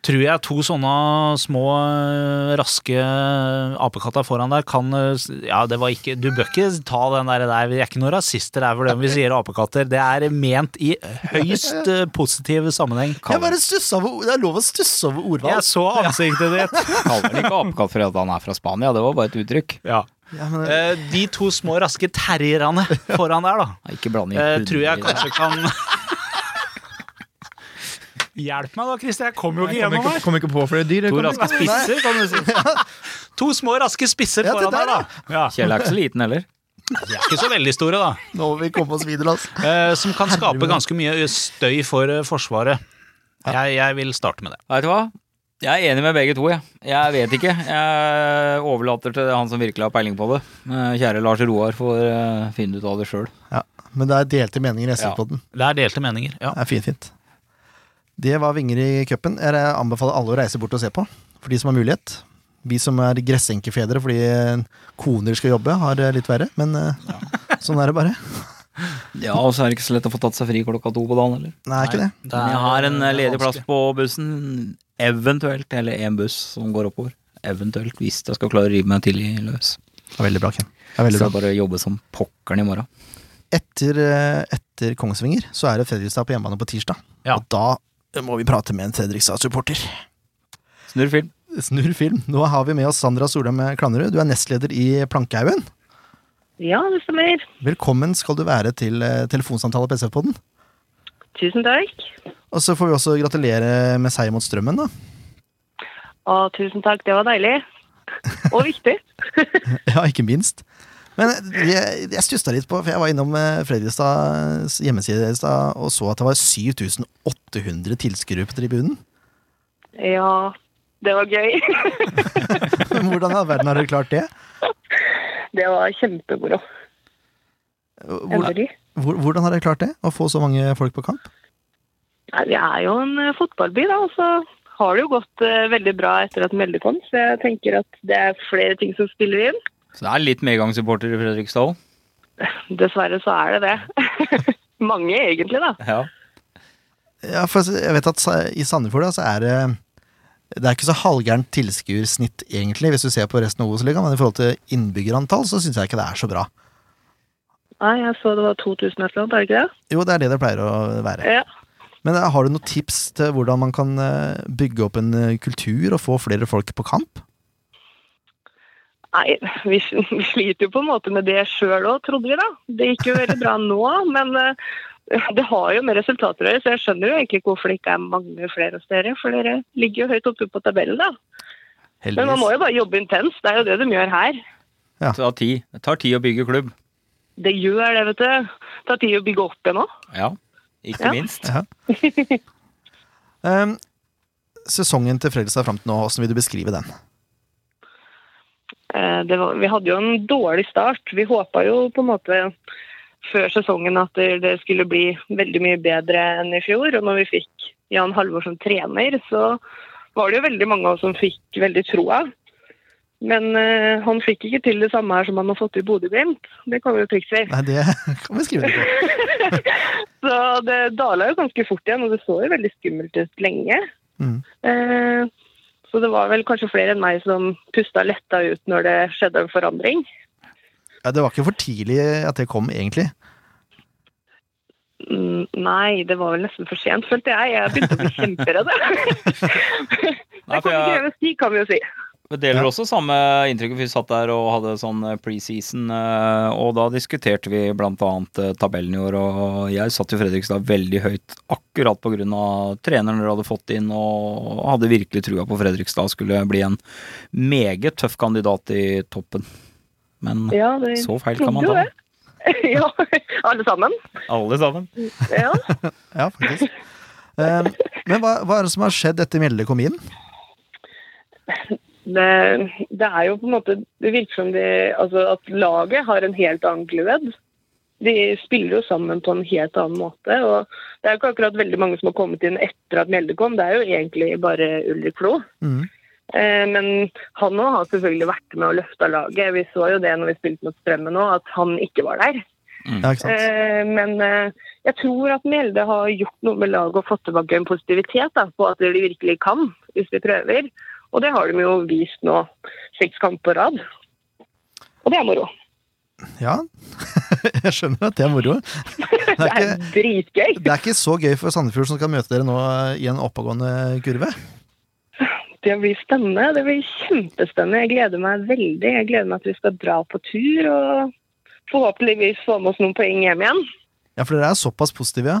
Speaker 2: tror jeg to sånne små, eh, raske eh, apekatter foran der kan eh, s- Ja, det var ikke Du bør ikke ta den der der. Vi er ikke noen rasister her for det om vi sier apekatter. Det er ment i høyst eh, positiv sammenheng.
Speaker 3: Jeg bare stussa over Det er lov å stusse over
Speaker 2: Jeg
Speaker 3: ordvalg.
Speaker 2: så ansiktet ditt.
Speaker 4: Kaller han ikke apekatt for at han er fra Spania, det var bare et uttrykk.
Speaker 2: Ja.
Speaker 3: Ja, men,
Speaker 2: Eh, De to små, raske terrierne foran der, da.
Speaker 4: Nei, Ikke blanding.
Speaker 2: Eh, tror jeg kanskje kan [laughs] Hjelp meg da, Christer. Jeg kommer jo ikke
Speaker 5: Kom
Speaker 2: gjennom
Speaker 5: ikke,
Speaker 2: her.
Speaker 5: kom ikke på flere dyr. jeg
Speaker 4: To
Speaker 5: kom
Speaker 4: raske
Speaker 5: ikke-
Speaker 4: spisser, kan
Speaker 2: [laughs]
Speaker 4: du si.
Speaker 2: To små, raske spisser
Speaker 3: Ja, det
Speaker 2: foran
Speaker 3: der,
Speaker 2: der, da. Ja,
Speaker 4: Kjell er ikke så liten heller.
Speaker 2: de er ikke så veldig store, da.
Speaker 3: Nå må vi komme oss videre, altså.
Speaker 2: Eh, som kan skape ganske mye støy for eh, Forsvaret. Jeg, jeg vil starte med det.
Speaker 4: Vet du hva? Jeg er enig med begge to, jeg. Jeg vet ikke. Jeg overlater til han som virkelig har peiling på det. Eh, Kjære Lars Roar får eh, finne ut av det sjøl.
Speaker 3: Men det er delte meninger i SF-podden.
Speaker 2: Det er delte meninger. Ja.
Speaker 3: Det er fint, fint. Det var vinger i cupen. Jeg anbefaler alle å reise bort og se på, for de som har mulighet. Vi som er gressenkefedre fordi koner skal jobbe, har det litt verre, men eh, sånn er det bare.
Speaker 4: Ja, og så er det ikke så lett å få tatt seg fri klokka to på dagen heller.
Speaker 3: Nei, ikke det.
Speaker 2: Det er-
Speaker 4: Men jeg har en eh,
Speaker 2: det er
Speaker 4: ledig plass
Speaker 2: vanskelig.
Speaker 4: på bussen, eventuelt, eller en buss som går oppover. Eventuelt, hvis jeg skal klare å rive meg tidlig løs.
Speaker 3: Det er veldig bra, Ken. Det er
Speaker 4: Så
Speaker 3: veldig bra.
Speaker 4: jeg bare jobber som pokkeren i morgen.
Speaker 3: etter, eh, etter Kongsvinger så er det Fredrikstad på hjemmebane på tirsdag.
Speaker 2: Ja.
Speaker 3: Og da eh, må vi prate med en Fredrikstad-supporter.
Speaker 4: Snurr film.
Speaker 3: Snurr film. Nå har vi med oss Sandra Solheim eh, Klannerud. Du er nestleder i Plankehaugen.
Speaker 9: Ja, det stemmer.
Speaker 3: Velkommen skal du være til eh, telefonsamtale på SF-podden.
Speaker 9: Tusen takk.
Speaker 3: Og så får vi også gratulere med seier mot Strømmen, da. [laughs]
Speaker 9: Og tusen takk, det var deilig. Og viktig.
Speaker 3: Ja, ikke minst. Men jeg, jeg stussa litt på, for jeg var innom eh, Fredrikstads hjemmeside i stad og så at det var 7800 tilskuere på tribunen. [laughs]
Speaker 9: Ja, det var
Speaker 7: [laughs]
Speaker 9: gøy.
Speaker 3: Hvordan i all verden har dere klart det?
Speaker 9: Det var kjempemoro.
Speaker 3: Hvordan,
Speaker 9: Endelig.
Speaker 3: Hvor- Hvordan har dere klart det? Å få så mange folk på kamp?
Speaker 9: Nei, vi er jo en eh, fotballby, da, og så
Speaker 7: har det jo gått eh, veldig bra etter at den meldte kom, så jeg tenker at det er flere ting som spiller inn.
Speaker 4: Så det er litt medgangssupporter i Fredrikstad òg.
Speaker 7: Dessverre så er det det. [laughs] Mange egentlig, da.
Speaker 4: Ja.
Speaker 3: Ja, for jeg vet at sa- i Sandefjord da, så er det det er ikke så halvgærent tilskuersnitt, egentlig, hvis du ser på resten av Obos-ligaen, men i forhold til innbyggerantall så syns jeg ikke det er så bra.
Speaker 7: Nei, jeg så det var 2000 et eller annet, er det ikke det?
Speaker 3: Jo, det er det det pleier å være.
Speaker 7: Ja.
Speaker 3: Men eh, har du noen tips til hvordan man kan eh, bygge opp en eh, kultur og få flere folk på kamp?
Speaker 7: Nei, vi, vi sliter jo på en måte med det sjøl òg, trodde vi da. Det gikk jo veldig bra nå, men eh, det har jo med resultater å gjøre. Så jeg skjønner jo egentlig ikke hvorfor det ikke er mange flere hos dere. For dere ligger jo høyt oppe på tabellen, da. Men man må jo bare jobbe intenst. Det er jo det de gjør her.
Speaker 3: Ja.
Speaker 4: Så det, tar tid. det tar tid å bygge klubb.
Speaker 7: Det gjør det, vet du. Det tar tid å bygge opp igjen òg.
Speaker 4: Ja, ikke
Speaker 7: Ja.
Speaker 4: minst.
Speaker 3: Um, sesongen til Fredrikstad fram til nå, hvordan vil du beskrive den?
Speaker 7: Eh, det var, vi hadde jo en dårlig start. Vi håpa jo på en måte før sesongen at det, det skulle bli veldig mye bedre enn i fjor. Og når vi fikk Jan Halvor som trener, så var det jo veldig mange av oss som fikk veldig troa. Men eh, han fikk ikke til det samme her som han har fått i Bodø-Glimt. Det kan vi jo trygt si.
Speaker 3: Nei, det [laughs] kan vi skrive litt på.
Speaker 7: Så det dala jo ganske fort igjen, og det så jo veldig skummelt ut lenge.
Speaker 3: Mm.
Speaker 7: Eh, så det var vel kanskje flere enn meg som pusta letta ut når det skjedde en forandring.
Speaker 3: Ja, det var ikke for tidlig at det kom, egentlig.
Speaker 7: Mm, Nei, det var vel nesten for sent, følte jeg. Jeg begynte å bli
Speaker 4: [laughs]
Speaker 7: kjemperedd.
Speaker 4: Nei,
Speaker 7: [laughs] Det
Speaker 4: for
Speaker 7: kom ikke
Speaker 4: jeg
Speaker 7: over sti, kan vi jo si. [laughs]
Speaker 4: Vi deler
Speaker 3: Ja.
Speaker 4: også samme inntrykk. Vi satt der og hadde sånn preseason, eh, og da diskuterte vi blant annet eh, tabellen i år, og jeg satt i Fredrikstad veldig høyt akkurat på grunn av treneren dere hadde fått inn, og hadde virkelig trua på Fredrikstad skulle bli en meget tøff kandidat i toppen. Men
Speaker 7: Ja, det
Speaker 4: så feil kan man
Speaker 7: trodde
Speaker 4: ta.
Speaker 7: jo det. Ja, alle sammen.
Speaker 4: Alle sammen.
Speaker 7: Ja.
Speaker 3: Ja, faktisk. Um, men hva, hva er det som har skjedd etter Mjelde kom inn?
Speaker 7: Det, det er jo på en måte Det virker som de, altså at laget har en helt annen glød. De spiller jo sammen på en helt annen måte. og Det er jo ikke akkurat veldig mange som har kommet inn etter at Mjelde kom, det er jo egentlig bare Ulrik Flo.
Speaker 3: Mm.
Speaker 7: Eh, Men han òg har selvfølgelig vært med og løfta laget. Vi så jo det når vi spilte mot Strømmen òg, at han ikke var der.
Speaker 3: Ja, ikke sant?
Speaker 7: Eh, Men eh, jeg tror at Mjelde har gjort noe med laget og fått tilbake en positivitet da, på at de virkelig kan, hvis de prøver. Og det har de jo vist nå, seks kamper på rad. Og det er moro.
Speaker 3: Ja, [laughs] jeg skjønner at det er moro. Det
Speaker 7: Det
Speaker 3: er
Speaker 7: er
Speaker 3: ikke,
Speaker 7: dritgøy.
Speaker 3: det er ikke så gøy for Sandefjord som skal møte dere nå eh, i en oppegående kurve.
Speaker 7: Det blir spennende. Det blir kjempespennende. Jeg gleder meg veldig. Jeg gleder meg til vi skal dra på tur og forhåpentligvis få med oss noen poeng hjem igjen.
Speaker 3: Ja, for dere er såpass positive, ja.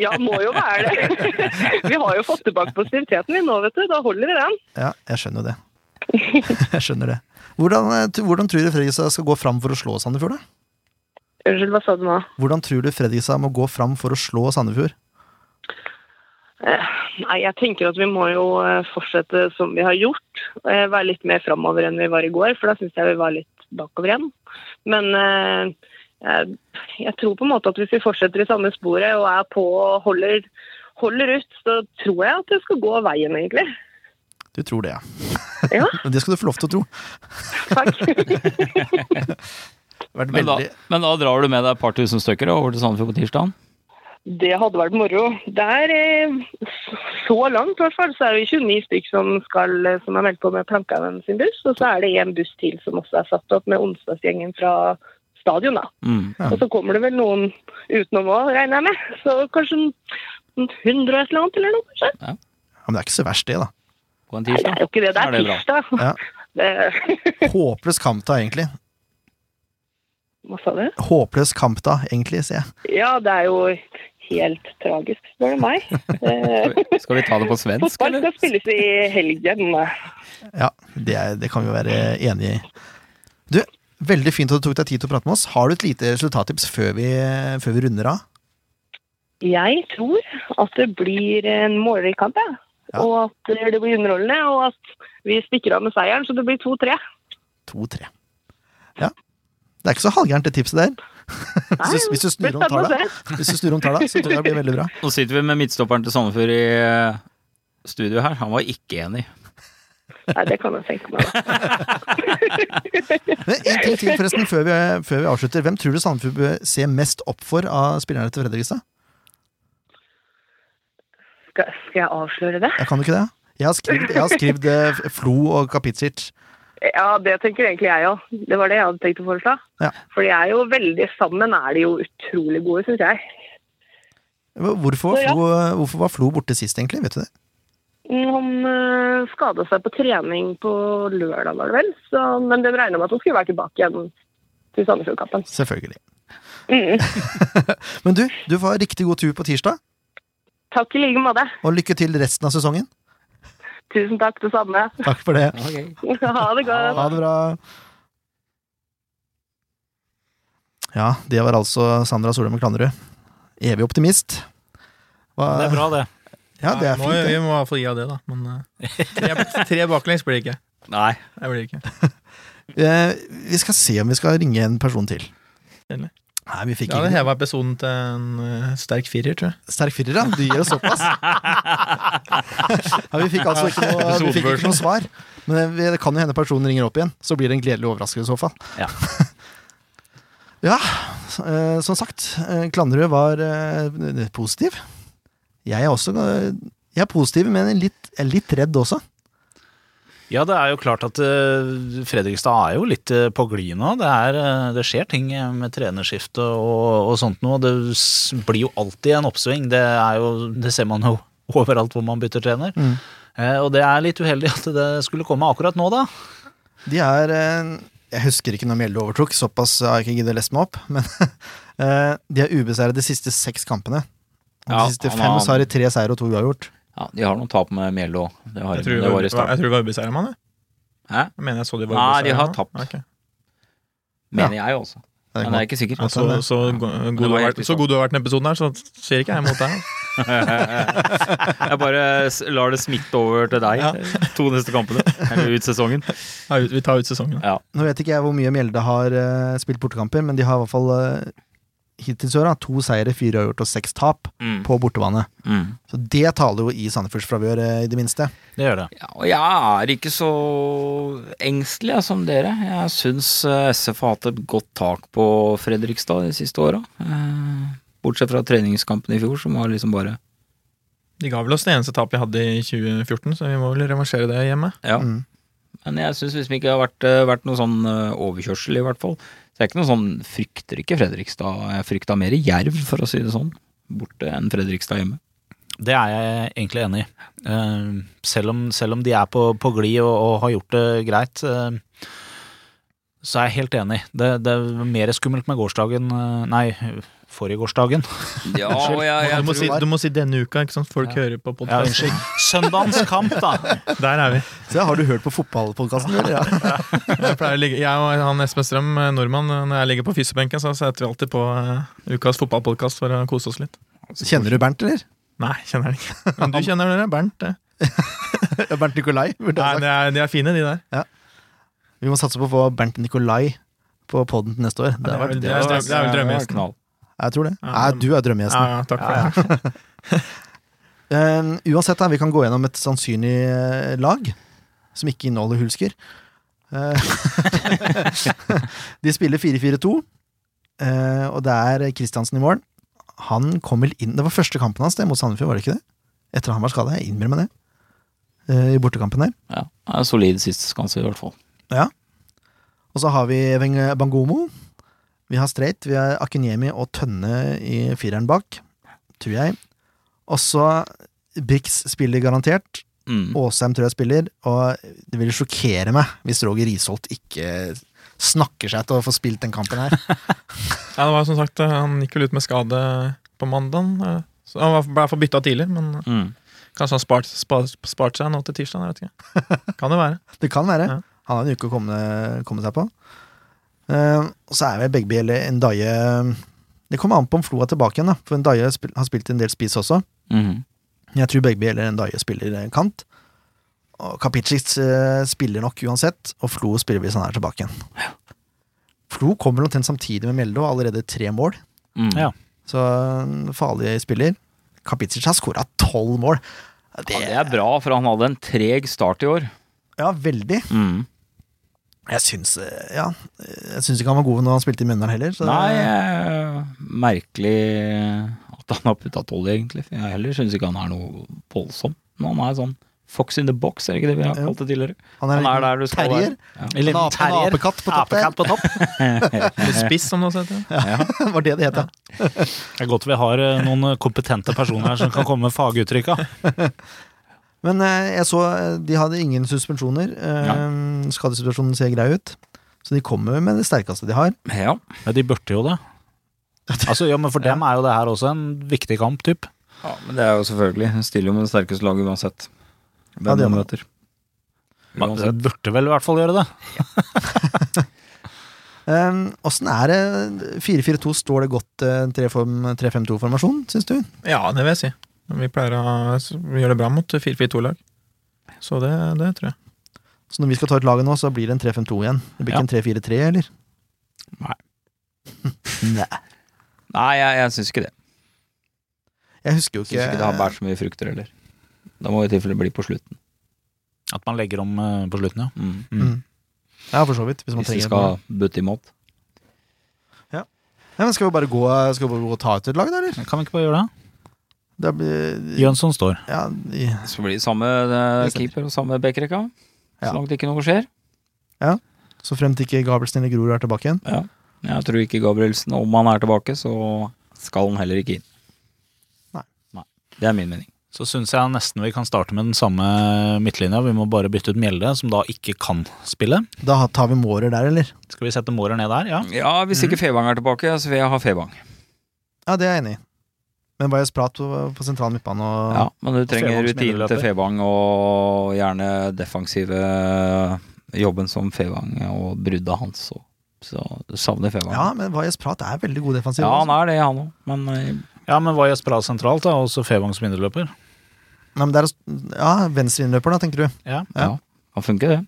Speaker 7: Ja, må jo være det. [laughs] Vi har jo fått tilbake positiviteten vi nå, vet du. Da holder vi den.
Speaker 3: Ja, jeg skjønner jo det. [laughs] Jeg skjønner det. Hvordan, eh, t- hvordan tror du Fredrikstad skal gå fram for å slå Sandefjord, da?
Speaker 7: Unnskyld, hva sa du nå?
Speaker 3: Hvordan tror du Fredrikstad må gå fram for å slå Sandefjord?
Speaker 7: Nei, jeg tenker at vi må jo eh, fortsette som vi har gjort. eh, Være litt mer framover enn vi var i går, for da syns jeg vi var litt bakover igjen. Men eh, jeg, jeg tror på en måte at hvis vi fortsetter i samme sporet og er på og holder, holder ut, så tror jeg at det skal gå veien, egentlig.
Speaker 3: Du tror det, ja.
Speaker 7: Ja.
Speaker 3: [laughs] Men Det skal du få lov til å tro.
Speaker 7: Takk.
Speaker 3: Vært
Speaker 4: Men da,
Speaker 3: veldig-
Speaker 4: men da drar du med deg et par tusen stykker da, over til Sandefjord på tirsdag?
Speaker 7: Det hadde vært moro. Der, eh, så langt i hvert fall, så er det 29 stykk som, skal, eh, som er meldt på med Plankehaugen sin buss. Og så er det en buss til som også er satt opp med onsdagsgjengen fra stadion. da.
Speaker 4: Mm.
Speaker 3: Ja.
Speaker 7: Og så kommer det vel noen utenom òg, regner jeg med. Så kanskje en- en 100 og et eller annet eller noe, kanskje.
Speaker 3: Ja, men det er ikke så verst, det, da.
Speaker 4: På en
Speaker 7: Nei, det er
Speaker 4: tirsdag?
Speaker 7: jo ikke det. Det
Speaker 4: Ja,
Speaker 7: er
Speaker 4: det er bra.
Speaker 7: tirsdag.
Speaker 3: Ja.
Speaker 7: [laughs] Det-
Speaker 3: Håpløs kamp da, egentlig.
Speaker 7: Hva sa du?
Speaker 3: Håpløs kamp da, egentlig, sier jeg.
Speaker 7: Ja, det er jo helt tragisk, spør du
Speaker 3: [laughs]
Speaker 7: meg. Eh,
Speaker 4: Skal vi ta det på svensk,
Speaker 7: Fotball
Speaker 4: eller?
Speaker 7: skal spilles i helgen.
Speaker 3: Ja, det, er, det kan vi være enige i. Du, veldig fint at du tok deg tid til å prate med oss. Har du et lite resultattips før vi, før vi runder av?
Speaker 7: Jeg tror at det blir en målrik kamp, jeg.
Speaker 3: Ja.
Speaker 7: Og at det blir underholdende, og at vi stikker av med seieren, så det blir 2-3.
Speaker 3: 2-3. Ja. Det er ikke så halvgærent, det tipset der. [laughs]
Speaker 7: Nei,
Speaker 3: Hvis du, hvis du
Speaker 7: Det
Speaker 3: snur
Speaker 7: blir
Speaker 3: om
Speaker 7: spennende å
Speaker 3: tallene,
Speaker 7: se.
Speaker 3: hvis du snur om tallene, så tror jeg det blir veldig bra.
Speaker 4: Nå sitter vi med midtstopperen til Sandefjord i eh, studio her, han var ikke enig.
Speaker 9: Nei, det kan jeg tenke meg. da.
Speaker 3: Men en ting til forresten, før vi, før vi avslutter. Hvem tror du Sandefjord bør se mest opp for av spillerne til Fredrikstad?
Speaker 9: Skal, skal jeg avsløre det?
Speaker 3: Jeg kan jo ikke det. Jeg har skrevet, jeg har skrevet eh, Flo og Kapitsic.
Speaker 9: Ja, det tenker egentlig jeg òg. Det var det jeg hadde tenkt å foreslå.
Speaker 3: Ja.
Speaker 9: For de er jo veldig sammen, er de jo utrolig gode, syns jeg.
Speaker 3: Hvorfor, var
Speaker 9: Ja.
Speaker 3: Flo, hvorfor var Flo borte sist, egentlig? Vet du det?
Speaker 9: Han uh, skada seg på trening på lørdag, var det vel. Så, men de regna med at han skulle være tilbake igjen til Sandefjordkampen.
Speaker 3: Selvfølgelig.
Speaker 9: Mm.
Speaker 3: [laughs] Men du, du får ha riktig god tur på tirsdag,
Speaker 9: Takk i like måte.
Speaker 3: og lykke til resten av sesongen.
Speaker 9: Tusen takk, det samme.
Speaker 3: Takk for det.
Speaker 9: [laughs] ha det godt.
Speaker 3: Ha det bra. Ja, det var altså Sandra Solheim Klanderud. Evig optimist. Hva-
Speaker 2: Det er bra, det.
Speaker 3: Ja, det er
Speaker 5: Nei,
Speaker 3: fint.
Speaker 5: Må, vi
Speaker 3: Det.
Speaker 5: må i hvert fall gi av det, da. Men eh, tre, tre baklengs blir det ikke.
Speaker 4: Nei.
Speaker 5: Det blir det ikke.
Speaker 3: Eh, Vi skal se om vi skal ringe en person til.
Speaker 5: Eller?
Speaker 3: Nei, vi fikk
Speaker 5: Da hadde
Speaker 3: ikke
Speaker 5: heva episoden til en eh, sterk firer, tror jeg.
Speaker 3: Sterk firer, ja. Du gir oss såpass. Ja, vi fikk altså ikke noe, vi fikk ikke noe svar. Men vi- det kan jo hende personen ringer opp igjen. Så blir det en gledelig overraskelse i så fall.
Speaker 2: Ja.
Speaker 3: [laughs] Ja, s- eh, som sagt. eh, Klanderud var eh, positiv. Jeg er også eh, jeg er positiv, men litt, jeg er litt redd også.
Speaker 2: Ja, det er jo klart at eh, Fredrikstad er jo litt eh, på glid nå. Det, er, eh, det skjer ting eh, med trenerskifte og, og sånt noe. Det s- blir jo alltid en oppsving. Det, er jo, det ser man jo [laughs] overalt hvor man bytter trener. Eh, og det er litt uheldig at det skulle komme akkurat nå, da.
Speaker 3: De er eh, Jeg husker ikke når Mjelde overtok, såpass har jeg ikke giddet å lese meg opp. [laughs] Men eh, de er ubeseiret de siste seks kampene. Og
Speaker 4: Ja,
Speaker 3: de siste
Speaker 4: han
Speaker 3: fem
Speaker 4: har-
Speaker 3: så har de tre seier og to uavgjort.
Speaker 4: Ja, de har noen tap med Mjelde òg. Det, har
Speaker 5: Jeg
Speaker 4: de,
Speaker 5: tror,
Speaker 4: det var i
Speaker 5: jeg
Speaker 4: starten.
Speaker 5: tror det var ubeseiret mann, jeg.
Speaker 4: Hæ?
Speaker 5: Jeg mener jeg så de var
Speaker 4: Nei, de har
Speaker 5: ubeseiret,
Speaker 4: tapt.
Speaker 5: ja. Ok.
Speaker 4: Mener jeg også.
Speaker 3: Det er
Speaker 4: Men jeg er ikke sikker.
Speaker 5: Ja, så, så, go- god,
Speaker 4: var
Speaker 5: du har
Speaker 4: helt
Speaker 5: vært,
Speaker 4: i
Speaker 5: så
Speaker 4: starten.
Speaker 5: god du har vært i denne episoden her, så ser ikke jeg mot deg.
Speaker 4: [laughs] Jeg bare s- lar det smitte over til deg
Speaker 5: Ja.
Speaker 4: to neste kampene. Eller ut sesongen.
Speaker 5: [laughs] Ja, ut- vi tar ut sesongen.
Speaker 3: Nå vet ikke jeg hvor mye Mjelde har eh, spilt bortekamper, men de har i hvert fall eh, hittil så langt to seire, fire uavgjort og seks tap
Speaker 4: Mm.
Speaker 3: på bortebane.
Speaker 4: Mm.
Speaker 3: Så det taler jo i Sandefjords favør, eh, i det minste.
Speaker 2: Det gjør det.
Speaker 4: Ja, og jeg er ikke så engstelig jeg, som dere. Jeg syns eh, SF har hatt et godt tak på Fredrikstad de siste åra. Eh, Bortsett fra treningskampen i fjor, som var liksom bare
Speaker 5: De ga vel oss det eneste tapet vi hadde i 2014, så vi må vel revansjere det hjemme.
Speaker 4: Ja.
Speaker 3: Mm.
Speaker 4: Men jeg syns liksom ikke det har vært, eh, vært noe sånn eh, overkjørsel, i hvert fall. Så jeg er ikke noe sånn Frykter ikke Fredrikstad. Jeg frykta mer Jerv, for å si det sånn. Borte enn Fredrikstad hjemme.
Speaker 2: Det er jeg egentlig enig i. Eh, Selv om, selv om de er på, på glid og, og har gjort det greit, eh, så er jeg helt enig. Det, det er mer skummelt med gårsdagen eh, Nei, forrige gårsdagen.
Speaker 4: Ja, og jeg,
Speaker 5: Du må, si,
Speaker 3: tror-
Speaker 5: du må si denne uka, ikke sant? Folk
Speaker 2: Ja.
Speaker 5: hører på
Speaker 2: Ja,
Speaker 5: podkast.
Speaker 2: unnskyld. Søndagens kamp, [laughs] da.
Speaker 5: Der er vi.
Speaker 3: Så ja, har du hørt på fotballpodkasten, eller? Ja.
Speaker 5: [laughs] Jeg, pleier å ligge, jeg og han Espen Strøm, eh, nordmann, eh, når jeg ligger på fysiobenken, så setter vi alltid på eh, ukas fotballpodkast for å kose oss litt.
Speaker 3: Kjenner du Bernt, eller?
Speaker 5: Nei, kjenner jeg ikke. Men du kjenner dere, Bernt. eh? det.
Speaker 3: Ja, Bernt Nikolai, burde
Speaker 5: Nei,
Speaker 3: jeg sagt.
Speaker 5: de er, de er fine, de der.
Speaker 3: Vi må satse på å få Bernt Nikolai på poden til neste år. Det
Speaker 5: Ja,
Speaker 3: har vært,
Speaker 5: det er, det er vel drømmegjesten.
Speaker 4: knall.
Speaker 3: jeg tror det.
Speaker 5: Ja,
Speaker 3: Nei,
Speaker 5: men-
Speaker 3: du er drømmegjesten.
Speaker 5: Ja, ja, takk for det.
Speaker 3: Eh, uansett, da, vi kan gå gjennom et sannsynlig eh, lag, som ikke inneholder hulsker. Eh, [laughs] de spiller 4-4-2, eh, og det er Kristiansen i morgen. Han kom vel inn, Det var første kampen hans det, mot Sandefjord, var det ikke det? Etter at han var skada, jeg innrømmer det. Eh, I bortekampen der.
Speaker 4: Ja, det er solid siste skanse, i hvert fall.
Speaker 3: Og så har vi Veng- Bangomo. Vi har Streit, vi har Akinyemi og Tønne i fireren bak, tror jeg. Og så Brix spiller garantert.
Speaker 4: Mm.
Speaker 3: Åsheim tror jeg spiller, og det ville sjokkere meg hvis Roger Risholt ikke snakker seg til å få spilt den kampen her.
Speaker 5: Ja, det var som sagt, eh, Han gikk vel ut med skade på mandag. eh, Han var- ble i hvert fall bytta tidlig, men eh,
Speaker 4: Mm.
Speaker 5: kanskje han spart, spa- spart seg nå til tirsdag. Jeg vet ikke. [laughs] Kan det være.
Speaker 3: Det kan være.
Speaker 5: Ja.
Speaker 3: Han har en uke å komme, komme seg på. Eh, og så er vel Begby eller Ndaye Det kommer an på om Flo er tilbake igjen, da, for Ndaye spil, har spilt en del spiss også.
Speaker 4: Mhm.
Speaker 3: Jeg tror Begby eller Ndaye spiller eh, kant. Og Kapicic eh, spiller nok uansett, og Flo spiller hvis han er tilbake igjen. Flo kommer omtrent samtidig med Mjelde og har allerede tre mål.
Speaker 4: Mm.
Speaker 2: Ja.
Speaker 3: eh, Så en farlig spiller. Kapitsic har skåra tolv mål.
Speaker 4: Ja, det er bra, for han hadde en treg start i år.
Speaker 3: Ja, veldig.
Speaker 4: Mm.
Speaker 3: Jeg syns eh, Ja, jeg syns ikke han var god når han spilte i Mjøndalen heller. Så
Speaker 4: Nei, eh, merkelig at han har putta tolv, egentlig. For jeg heller syns ikke han er noe voldsom. Men han er sånn fox in the box, er det ikke det vi har
Speaker 3: Jo.
Speaker 4: kalt det tidligere?
Speaker 3: han er en
Speaker 4: han er
Speaker 3: liten
Speaker 4: der du skal
Speaker 3: terrier.
Speaker 2: En
Speaker 3: En
Speaker 2: liten
Speaker 3: ape- en
Speaker 2: terrier.
Speaker 3: apekatt på topp der.
Speaker 2: Apekatt på topp.
Speaker 5: Litt spiss, som det også
Speaker 3: [laughs]
Speaker 5: heter.
Speaker 3: var det det het, ja.
Speaker 2: [laughs] Det er godt vi har eh, noen kompetente personer her som kan komme med faguttrykka.
Speaker 3: Men eh, jeg så eh, de hadde ingen suspensjoner. Eh, Skadesituasjonen ser grei ut. Så de kommer med det sterkeste de har.
Speaker 4: Ja.
Speaker 2: Ja, de burde jo det. Altså, [laughs] ja, men For dem er jo det her også en viktig kamp, typ.
Speaker 4: ja, men det er jo selvfølgelig. Hun stiller jo med det sterkeste laget uansett.
Speaker 3: Ja,
Speaker 4: Hvem
Speaker 3: det
Speaker 4: ja,
Speaker 3: gjør man.
Speaker 4: møter.
Speaker 2: Men de
Speaker 4: Uansett.
Speaker 2: burde vel i hvert fall gjøre det.
Speaker 3: Eh, Åssen er det 4-4-2? Står det godt eh, 3-5-2-formasjon, syns du?
Speaker 5: Ja, det vil jeg si. Vi pleier å vi gjør det bra mot 4-4-2-lag. Så det, det tror jeg.
Speaker 3: Så når vi skal ta ut laget nå, så blir det en 3-5-2 igjen. Det blir
Speaker 4: Ja.
Speaker 3: ikke en 3-4-3, eller?
Speaker 4: Nei, jeg, jeg syns ikke det.
Speaker 3: Jeg husker jo
Speaker 4: Jeg syns
Speaker 3: ikke,
Speaker 4: ikke det har båret så mye frukter heller. Da må i tilfelle bli på slutten.
Speaker 2: At man legger om eh, på slutten, ja.
Speaker 4: Mm.
Speaker 3: Ja, for så vidt. Hvis man
Speaker 4: Hvis de
Speaker 3: trenger
Speaker 4: skal butte imot.
Speaker 3: det. Ja, men skal vi bare gå, skal vi bare gå og ta ut et lag, da, eller?
Speaker 2: Kan vi ikke bare gjøre det?
Speaker 3: Det blir,
Speaker 2: Jønsson står.
Speaker 3: ja, i-
Speaker 4: Så blir det samme eh,
Speaker 3: Det stemmer.
Speaker 4: keeper og samme backrekka. Så
Speaker 3: Ja.
Speaker 4: langt ikke noe skjer.
Speaker 3: så fremt ikke Gabelsen eller Grorud er tilbake igjen.
Speaker 4: Jeg tror ikke Gabrielsen, om han er tilbake, så skal han heller ikke inn.
Speaker 3: Nei.
Speaker 4: Det er min mening.
Speaker 2: Så syns jeg nesten vi kan starte med den samme eh, midtlinja. Vi må bare bytte ut Mjelde, som da ikke kan spille.
Speaker 3: Da tar vi Mårer der, eller?
Speaker 2: Skal vi sette Mårer ned der? Ja.
Speaker 4: Ja, hvis
Speaker 3: Mm.
Speaker 4: ikke Fevang er tilbake, så vil jeg ha Fevang.
Speaker 3: Ja, det er jeg enig i. Men Bajas Prat på, på sentral midtbane og
Speaker 4: Ja, men du trenger
Speaker 2: Fevang som
Speaker 4: rutine til
Speaker 2: indreløper.
Speaker 4: Fevang, og gjerne defensive jobben som Fevang og bruddet hans. Og. Så du savner Fevang.
Speaker 3: Ja, men Vajas Prat er veldig god defensiv.
Speaker 4: Ja, han
Speaker 3: altså.
Speaker 4: er det, han òg, men eh,
Speaker 2: ja, men hva gjør Spra sentralt, da? Også Fevang som indreløper?
Speaker 3: Nei, men det er, ja, venstreinnløper, da, tenker du.
Speaker 2: Ja.
Speaker 3: Ja.
Speaker 4: han funker, det.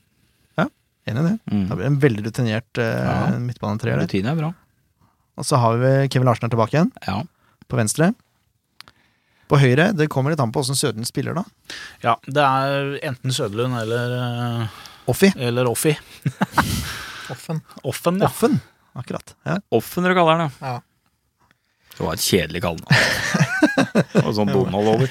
Speaker 3: Enig i det. Da
Speaker 4: Mm.
Speaker 3: blir det en veldig rutinert uh,
Speaker 4: Ja.
Speaker 3: midtbanetreer. der.
Speaker 4: Rutine er bra.
Speaker 3: Og så har vi Kevin Larsen her tilbake igjen,
Speaker 4: Ja.
Speaker 3: på venstre. På høyre, det kommer litt an på åssen Sødlund spiller, da.
Speaker 2: ja. Det er enten Sødlund eller, eh,
Speaker 3: Offi.
Speaker 2: eller Offi.
Speaker 5: Offen.
Speaker 2: Offen, ja.
Speaker 3: Offen, akkurat. Ja.
Speaker 4: Offen, dere kaller han,
Speaker 5: Ja.
Speaker 4: Det var et kjedelig kallenavn. og sånn Donald over.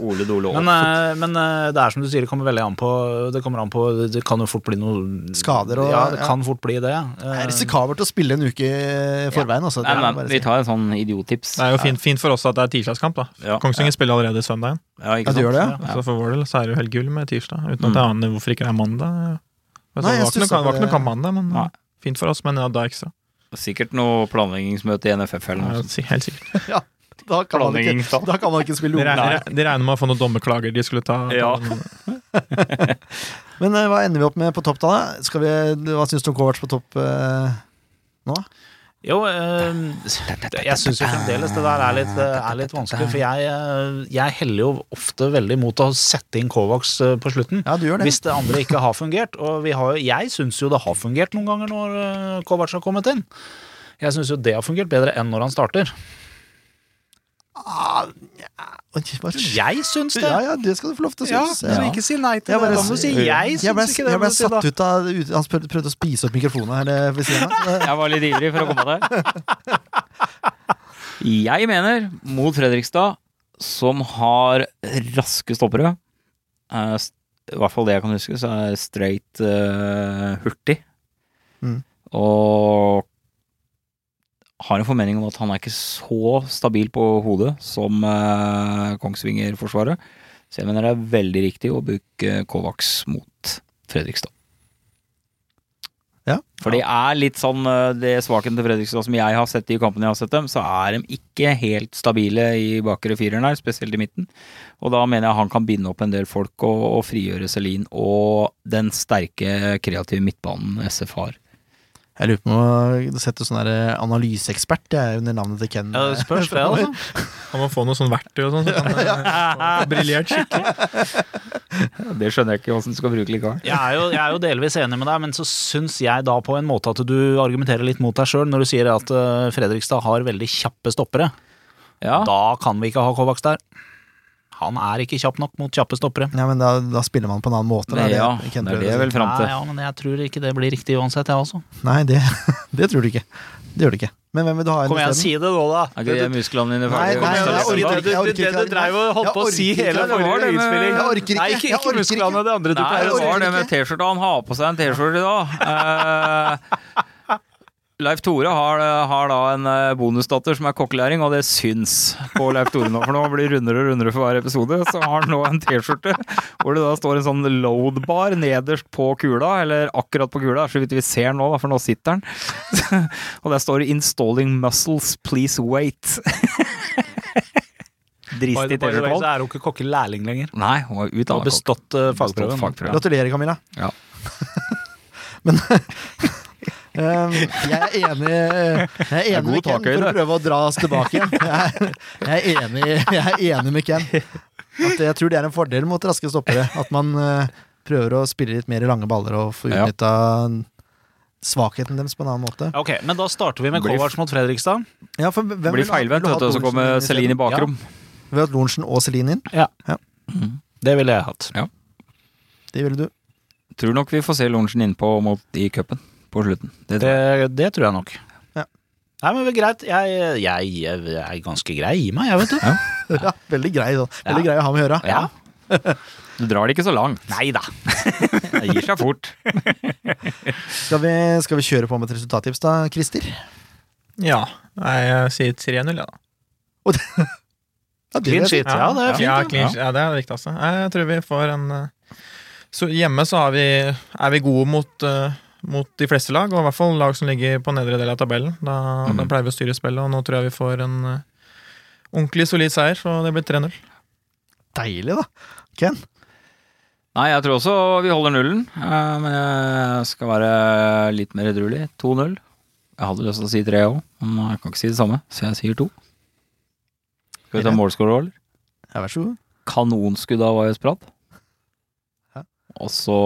Speaker 4: Ole Dole
Speaker 2: Men,
Speaker 4: Offen.
Speaker 2: eh, men eh, det er som du sier, det kommer veldig an på Det kommer an på, det kan jo fort bli noe
Speaker 3: Skader og-
Speaker 2: Ja, det
Speaker 3: ja.
Speaker 2: kan fort bli det.
Speaker 3: Det er
Speaker 2: Eh,
Speaker 3: risikabelt å spille en uke i forveien, altså. Det
Speaker 4: Nei,
Speaker 3: må jeg
Speaker 4: men
Speaker 3: bare
Speaker 4: vi
Speaker 3: si.
Speaker 4: tar en sånn idiotips.
Speaker 5: Det er jo fint, fint for oss at det er tirsdagskamp. da
Speaker 4: Ja.
Speaker 5: Kongsvinger spiller allerede søndagen.
Speaker 4: Ja,
Speaker 3: Ja,
Speaker 4: ikke
Speaker 3: du gjør det, ja? Mm.
Speaker 5: Så for vår del så er det jo helt gull med tirsdag. Uten at jeg aner hvorfor ikke det er mandag. Det
Speaker 3: Nei, jeg
Speaker 5: var ikke noe,
Speaker 3: stusser
Speaker 5: det
Speaker 3: på
Speaker 5: var ikke
Speaker 3: det.
Speaker 5: noe kamp mandag, men
Speaker 4: Nei.
Speaker 5: fint for oss. Men ja, da ekstra.
Speaker 4: Sikkert noe planleggingsmøte i NFF eller noe
Speaker 5: Ja,
Speaker 4: sånt.
Speaker 5: si- Helt sikkert.
Speaker 3: Da kan man ikke,
Speaker 4: Planleggingsstand.
Speaker 3: da kan man ikke
Speaker 5: De
Speaker 2: [laughs]
Speaker 3: spille ung.
Speaker 5: regner, de regner med å få noen dommerklager de skulle ta.
Speaker 4: Ja.
Speaker 3: Men eh, hva ender vi opp med på topp, da? Skal vi, eh, hva syns du om Kovac på topp? eh?
Speaker 2: Jo, eh, jeg syns jo fremdeles det der er litt, eh, er litt vanskelig, for jeg, eh, jeg heller jo ofte veldig mot å sette inn Kovacs eh, på slutten.
Speaker 3: Ja, du gjør det.
Speaker 2: Hvis det andre ikke har fungert. Og vi har, jo- jeg syns jo det har fungert noen ganger når eh, Kovac har kommet inn. Jeg syns jo det har fungert bedre enn når han starter.
Speaker 3: Oi, hva skjer?
Speaker 2: Jeg syns det!
Speaker 3: Ja, ja, det skal du få lov til å
Speaker 2: Ja,
Speaker 3: synes.
Speaker 2: men ikke si nei til
Speaker 3: Jeg bare-
Speaker 2: det. Da må du si jeg
Speaker 3: Jeg ble,
Speaker 2: syns ikke det.
Speaker 3: jeg ble
Speaker 2: må du si da.
Speaker 3: satt ut av ut, Han prøvde, prøvde å spise opp mikrofonen her eh, ved siden av. Så
Speaker 2: [laughs]
Speaker 3: det-
Speaker 4: Jeg var litt ivrig for å komme der. Jeg mener, mot Fredrikstad, som har raske stoppere eh, s- I hvert fall det jeg kan huske, så er straight eh, hurtig.
Speaker 3: Mm.
Speaker 4: Og har en formening om at han er ikke så stabil på hodet som eh, Kongsvinger-forsvaret. Så jeg mener det er veldig riktig å bruke Kovacs mot Fredrikstad.
Speaker 3: Ja.
Speaker 4: For det er litt sånn eh, det svakheten til Fredrikstad som jeg har sett i kampene jeg har sett dem, så er de ikke helt stabile i bakre fireren her, spesielt i midten. Og da mener jeg han kan binde opp en del folk og, og frigjøre Selin og den sterke kreative midtbanen SF har.
Speaker 3: Jeg lurer på om å sette sånn der analyseekspert jeg, under navnet til Ken.
Speaker 2: Ja, det spørs det, altså. [laughs]
Speaker 5: Han må få noe sånn verktøy og sånn. Så kan han få briljert skikkelig.
Speaker 4: Det skjønner jeg ikke åssen du skal bruke likevel.
Speaker 2: Jeg er, jo, jeg er jo delvis enig med deg, men så syns jeg da på en måte at du argumenterer litt mot deg sjøl når du sier at eh, Fredrikstad har veldig kjappe stoppere.
Speaker 4: Ja,
Speaker 2: Da kan vi ikke ha Kovacs der. Han er ikke kjapp nok mot kjappe stoppere.
Speaker 3: Ja, men da, da spiller man på en annen måte. da.
Speaker 4: Det, ja,
Speaker 3: ikke
Speaker 4: det
Speaker 3: en
Speaker 4: er det
Speaker 3: prøve.
Speaker 4: jeg vil fram
Speaker 2: Nei,
Speaker 4: til.
Speaker 2: ja, men jeg tror ikke det blir riktig uansett, jeg også.
Speaker 3: Nei, det, [laughs] det tror du ikke. Det gjør du ikke. Men hvem vil du ha inn
Speaker 2: Kom igjen,
Speaker 3: isteden?
Speaker 2: si det nå, da.
Speaker 4: Er ikke det musklene dine ferdige?
Speaker 3: nei, nei, jeg orker ikke.
Speaker 2: Det
Speaker 3: orker
Speaker 2: du- det du dreiv og holdt
Speaker 3: Jeg
Speaker 2: på å si
Speaker 3: orker ikke.
Speaker 2: hele
Speaker 3: Det var
Speaker 2: forrige
Speaker 4: det med-
Speaker 2: innspilling.
Speaker 3: Jeg orker ikke.
Speaker 2: Nei,
Speaker 3: Jeg
Speaker 2: ikke,
Speaker 3: orker
Speaker 2: ikke musklene,
Speaker 3: ikke.
Speaker 2: det andre du
Speaker 4: Nei,
Speaker 2: pleier
Speaker 4: det
Speaker 2: å si.
Speaker 4: var det med T-skjorta. Han har på seg en T-skjorte i dag. Eh, Leif Tore har, har da en eh, bonusdatter som er kokkelæring, og det syns på Leif Tore nå. For nå blir det rundere og rundere for hver episode. Så har han nå en T-skjorte hvor det da står en sånn load-bar nederst på kula, eller akkurat på kula, så vidt vi ser nå, da, for nå sitter den. [laughs] Og der står det 'Installing muscles, please wait'. [laughs]
Speaker 2: By the
Speaker 4: Dristig
Speaker 2: way, så
Speaker 4: T-skjorte.
Speaker 2: er hun ikke kokkelærling lenger.
Speaker 4: Nei, hun er ut
Speaker 2: Hun
Speaker 4: av
Speaker 2: har bestått eh,
Speaker 4: Bestått
Speaker 2: fagprøven.
Speaker 4: fagprøven.
Speaker 3: Gratulerer, Camilla.
Speaker 4: Ja.
Speaker 3: [laughs] men [laughs] um, jeg er enig Jeg er enig
Speaker 4: god
Speaker 3: med Ken
Speaker 4: takhøyde.
Speaker 3: for å prøve å dra oss
Speaker 4: [laughs]
Speaker 3: tilbake igjen. Jeg er, jeg er, enig, jeg er enig med Ken. At jeg tror det er en fordel mot raske stoppere. At man eh, prøver å spille litt mer i lange baller og få
Speaker 4: Ja.
Speaker 3: utnytta svakheten deres på en annen måte.
Speaker 2: Ok, men da starter vi med
Speaker 4: Blir-
Speaker 2: Kovacs mot Fredrikstad.
Speaker 3: Ja, for hvem
Speaker 4: Blir
Speaker 3: vil ha-
Speaker 4: feilvendt,
Speaker 3: vil ha
Speaker 4: vet du, og så
Speaker 3: Lorentzen
Speaker 4: kommer
Speaker 3: inn i
Speaker 4: Celine i
Speaker 3: stedet?
Speaker 4: bakrom.
Speaker 3: Vil du ha Lorentzen og Celine inn?
Speaker 2: Det ville jeg hatt.
Speaker 3: Det ville du.
Speaker 4: Tror nok vi får se Lorentzen innpå mot i cupen på slutten. Det tror jeg.
Speaker 2: Det, det tror jeg nok.
Speaker 3: Ja.
Speaker 2: Nei, men greit. Jeg, jeg, jeg er ganske grei i meg, jeg, vet du.
Speaker 3: [laughs] Ja, veldig grei, da. Veldig grei å ha med å gjøre.
Speaker 2: [laughs] Ja.
Speaker 4: Du drar det ikke så langt.
Speaker 2: Nei da.
Speaker 4: Det gir seg fort.
Speaker 3: Skal, vi, skal vi kjøre på med et resultattips da, Christer?
Speaker 5: Ja. Nei, jeg sier 3-0, jeg, da.
Speaker 3: Ja, det
Speaker 2: Clean
Speaker 3: vet jeg.
Speaker 2: shit. Ja, det er
Speaker 5: Ja,
Speaker 2: fint.
Speaker 5: clean, sheet. ja, det er det viktigste. Nei, Jeg tror vi får en eh, Så hjemme så har vi, er vi gode mot, eh, mot de fleste lag, og i hvert fall lag som ligger på nedre del av tabellen. Da, da
Speaker 4: Mhm.
Speaker 5: pleier vi å styre spillet, og nå tror jeg vi får en eh, ordentlig solid seier, så det blir 3-0.
Speaker 3: Deilig, da.
Speaker 4: [laughs] Nei, jeg tror også vi holder nullen, eh, men jeg skal være litt mer edruelig. 2-0. Jeg hadde lyst til å si 3 òg, men jeg kan ikke si det samme, så jeg sier 2. Skal vi ta målscorer òg, eller?
Speaker 3: Ja, vær så god.
Speaker 4: Kanonskudd av Vajos Prat.
Speaker 3: Ja.
Speaker 4: Og så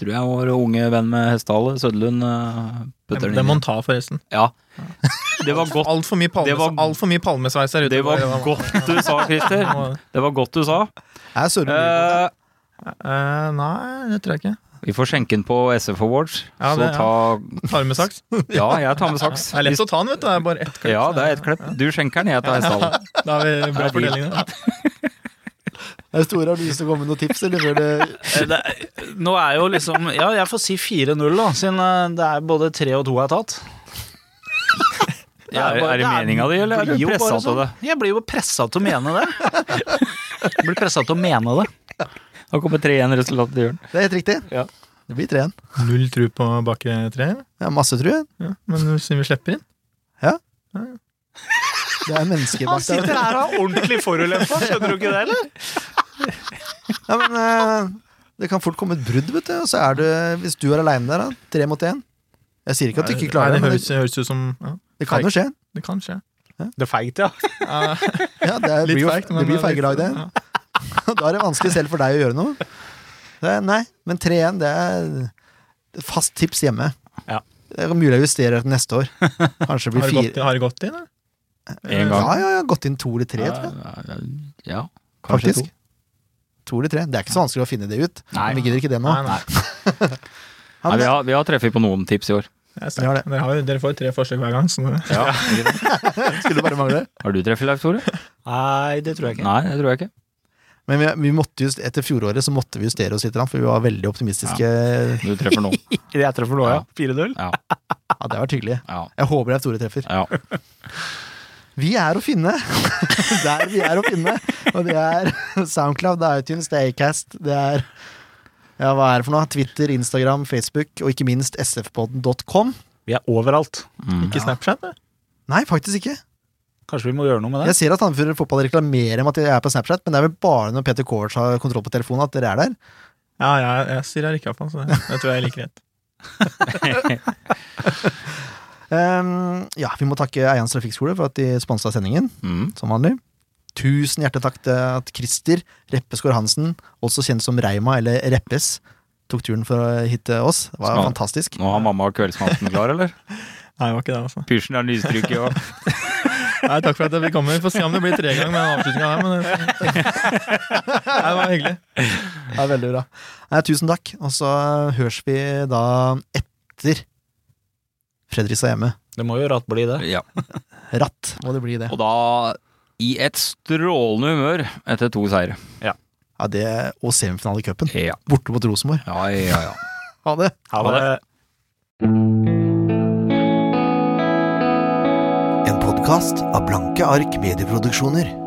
Speaker 4: tror jeg vår unge venn med hestehale, Sødlund, eh, putter
Speaker 5: Det
Speaker 4: den
Speaker 5: må
Speaker 4: inn.
Speaker 5: han ta, forresten.
Speaker 4: Det var godt,
Speaker 5: Altfor mye,
Speaker 4: Det
Speaker 5: palmes,
Speaker 4: var-
Speaker 5: alt for mye palmesveis her ute.
Speaker 4: det var
Speaker 5: bare.
Speaker 4: godt du sa, Christer.
Speaker 5: Nå-
Speaker 4: Det var godt du sa.
Speaker 3: Jeg er Søren Lundgren.
Speaker 4: Eh,
Speaker 5: eh, nei, det tror jeg ikke.
Speaker 4: vi får skjenke den på SF Awards.
Speaker 5: Ja, det-
Speaker 4: så
Speaker 5: Tar du med [laughs] saks? Det
Speaker 4: ta Ja, jeg tar med saks.
Speaker 5: er lett å ta den, vet du. Det er bare ett klipp.
Speaker 4: Ja, det er et klipp. Du skjenker den, jeg tar hestehalen.
Speaker 5: Da har vi bra
Speaker 4: Ja, de-
Speaker 5: fordeling der.
Speaker 3: Er det store, har du lyst til å komme med noen tips, eller før det
Speaker 2: Eh, Det, nå er jo liksom Ja, jeg får si 4-0, da, siden eh, det er både 3 og 2 jeg har tatt.
Speaker 4: Ja, er-
Speaker 2: bare-
Speaker 4: er det meningen din, eller er
Speaker 2: blir
Speaker 4: du
Speaker 2: jo bare
Speaker 4: presset til
Speaker 2: sånn. Jeg blir jo pressa til å mene det. [laughs] Jeg blir pressa til å mene det.
Speaker 4: Da kommer 3-1-resultatet til Jørn.
Speaker 3: Det er helt riktig. Det blir 3-1.
Speaker 5: Null tro på bakre tre,
Speaker 3: Ja, masse tru.
Speaker 5: ja. men siden vi slipper inn
Speaker 3: Det er mennesker bak der.
Speaker 2: her og er ordentlig forulempa, skjønner du ikke det, eller?
Speaker 3: Ja, men eh, det kan fort komme et brudd, vet du. Og så er det, hvis du er aleine der, da. Tre mot én. Jeg sier ikke at du ikke klarer
Speaker 5: Nei,
Speaker 3: det, men
Speaker 5: høres,
Speaker 3: det,
Speaker 5: høres ut som ja,
Speaker 3: det kan jo skje.
Speaker 5: Det kan skje.
Speaker 2: Det er feigt, ja.
Speaker 5: Ja,
Speaker 3: Ja, det er-
Speaker 5: litt
Speaker 3: blir jo
Speaker 5: feigt, men
Speaker 3: det blir
Speaker 5: litt-
Speaker 3: feigelag, det.
Speaker 5: ja.
Speaker 3: [laughs] Da er det vanskelig selv for deg å gjøre noe. Det er, nei, men 3-1 det er et fast tips hjemme.
Speaker 2: Ja.
Speaker 3: Det er mulig å justere til neste år. Kanskje det
Speaker 5: Har
Speaker 3: blir
Speaker 5: det gått,
Speaker 3: fire.
Speaker 5: har det gått inn, da?
Speaker 4: En gang.
Speaker 3: Ja, ja, ja, gått inn to eller tre, tror jeg.
Speaker 4: Ja, kanskje
Speaker 3: Faktisk. To eller tre. Det er ikke så vanskelig å finne det ut.
Speaker 4: Nei.
Speaker 3: Men vi gidder ikke det nå.
Speaker 5: Nei, nei.
Speaker 4: to. Nei, vi har, vi har treffet på noen tips i år.
Speaker 5: Det
Speaker 3: Vi
Speaker 5: er
Speaker 3: har det.
Speaker 5: sterkt. Dere, har, jo- dere får jo tre forsøk hver gang, så det-
Speaker 4: Ja.
Speaker 3: [laughs] Skulle bare mangle.
Speaker 4: Har du treffet, Leif Tore?
Speaker 2: Nei, det tror jeg ikke.
Speaker 4: Nei, det tror jeg ikke.
Speaker 3: Men vi, vi måtte just, etter fjoråret så måtte vi justere oss litt, for vi var veldig optimistiske. Ja,
Speaker 4: Du treffer nå.
Speaker 2: Jeg treffer nå, ja.
Speaker 4: Ja.
Speaker 2: 4-0.
Speaker 4: Ja.
Speaker 3: Det har vært hyggelig.
Speaker 4: Ja.
Speaker 3: Jeg håper det er Tore treffer.
Speaker 4: ja.
Speaker 3: Vi er å finne [laughs] der vi er å finne. Og det er Soundcloud, det er iTunes, det er Acast, det er ja, hva er det for noe? Twitter, Instagram, Facebook, og ikke minst sfpodden.com.
Speaker 2: Vi er overalt.
Speaker 4: Mm.
Speaker 5: Ikke Snapchat, det.
Speaker 3: Nei, faktisk ikke.
Speaker 2: Kanskje vi må gjøre noe med det?
Speaker 3: Jeg ser at Sandefjord Fotball reklamerer om at de er på Snapchat, men det er vel bare når Peter Kovac har kontroll på telefonen at dere er der.
Speaker 5: Ja, jeg, jeg sier jeg ikke iallfall, så det, det tror jeg er like greit.
Speaker 3: Ehm, ja, vi må takke Eians Trafikkskole for at de sponsa sendingen,
Speaker 4: Mm.
Speaker 3: som vanlig. Tusen hjertelig takk til at Christer Reppeskår Hansen, også kjent som Reima eller Reppes, tok turen for å hit til oss. Det var
Speaker 4: Skal-
Speaker 3: fantastisk.
Speaker 4: Nå har mamma kveldsmaten klar, eller?
Speaker 5: Nei, det var ikke det, altså.
Speaker 4: Pysjen er nystruket og
Speaker 5: Nei, takk for at jeg fikk komme. Vi får se om det blir tre ganger med den avslutninga her. Men det, Nei, det var hyggelig.
Speaker 3: Det er veldig bra. Nei, tusen takk, og så høres vi da etter Fredrikstad hjemme.
Speaker 2: Det må jo ratt bli det.
Speaker 4: Ja.
Speaker 3: Ratt må det bli, det.
Speaker 4: Og da i et strålende humør etter to seire.
Speaker 3: Ja, det og semifinale i cupen.
Speaker 4: Ja,
Speaker 3: Borte mot Rosenborg.
Speaker 4: ja, ja. ja.
Speaker 3: Ha det!
Speaker 2: Ha det.
Speaker 3: En podkast av Blanke ark medieproduksjoner.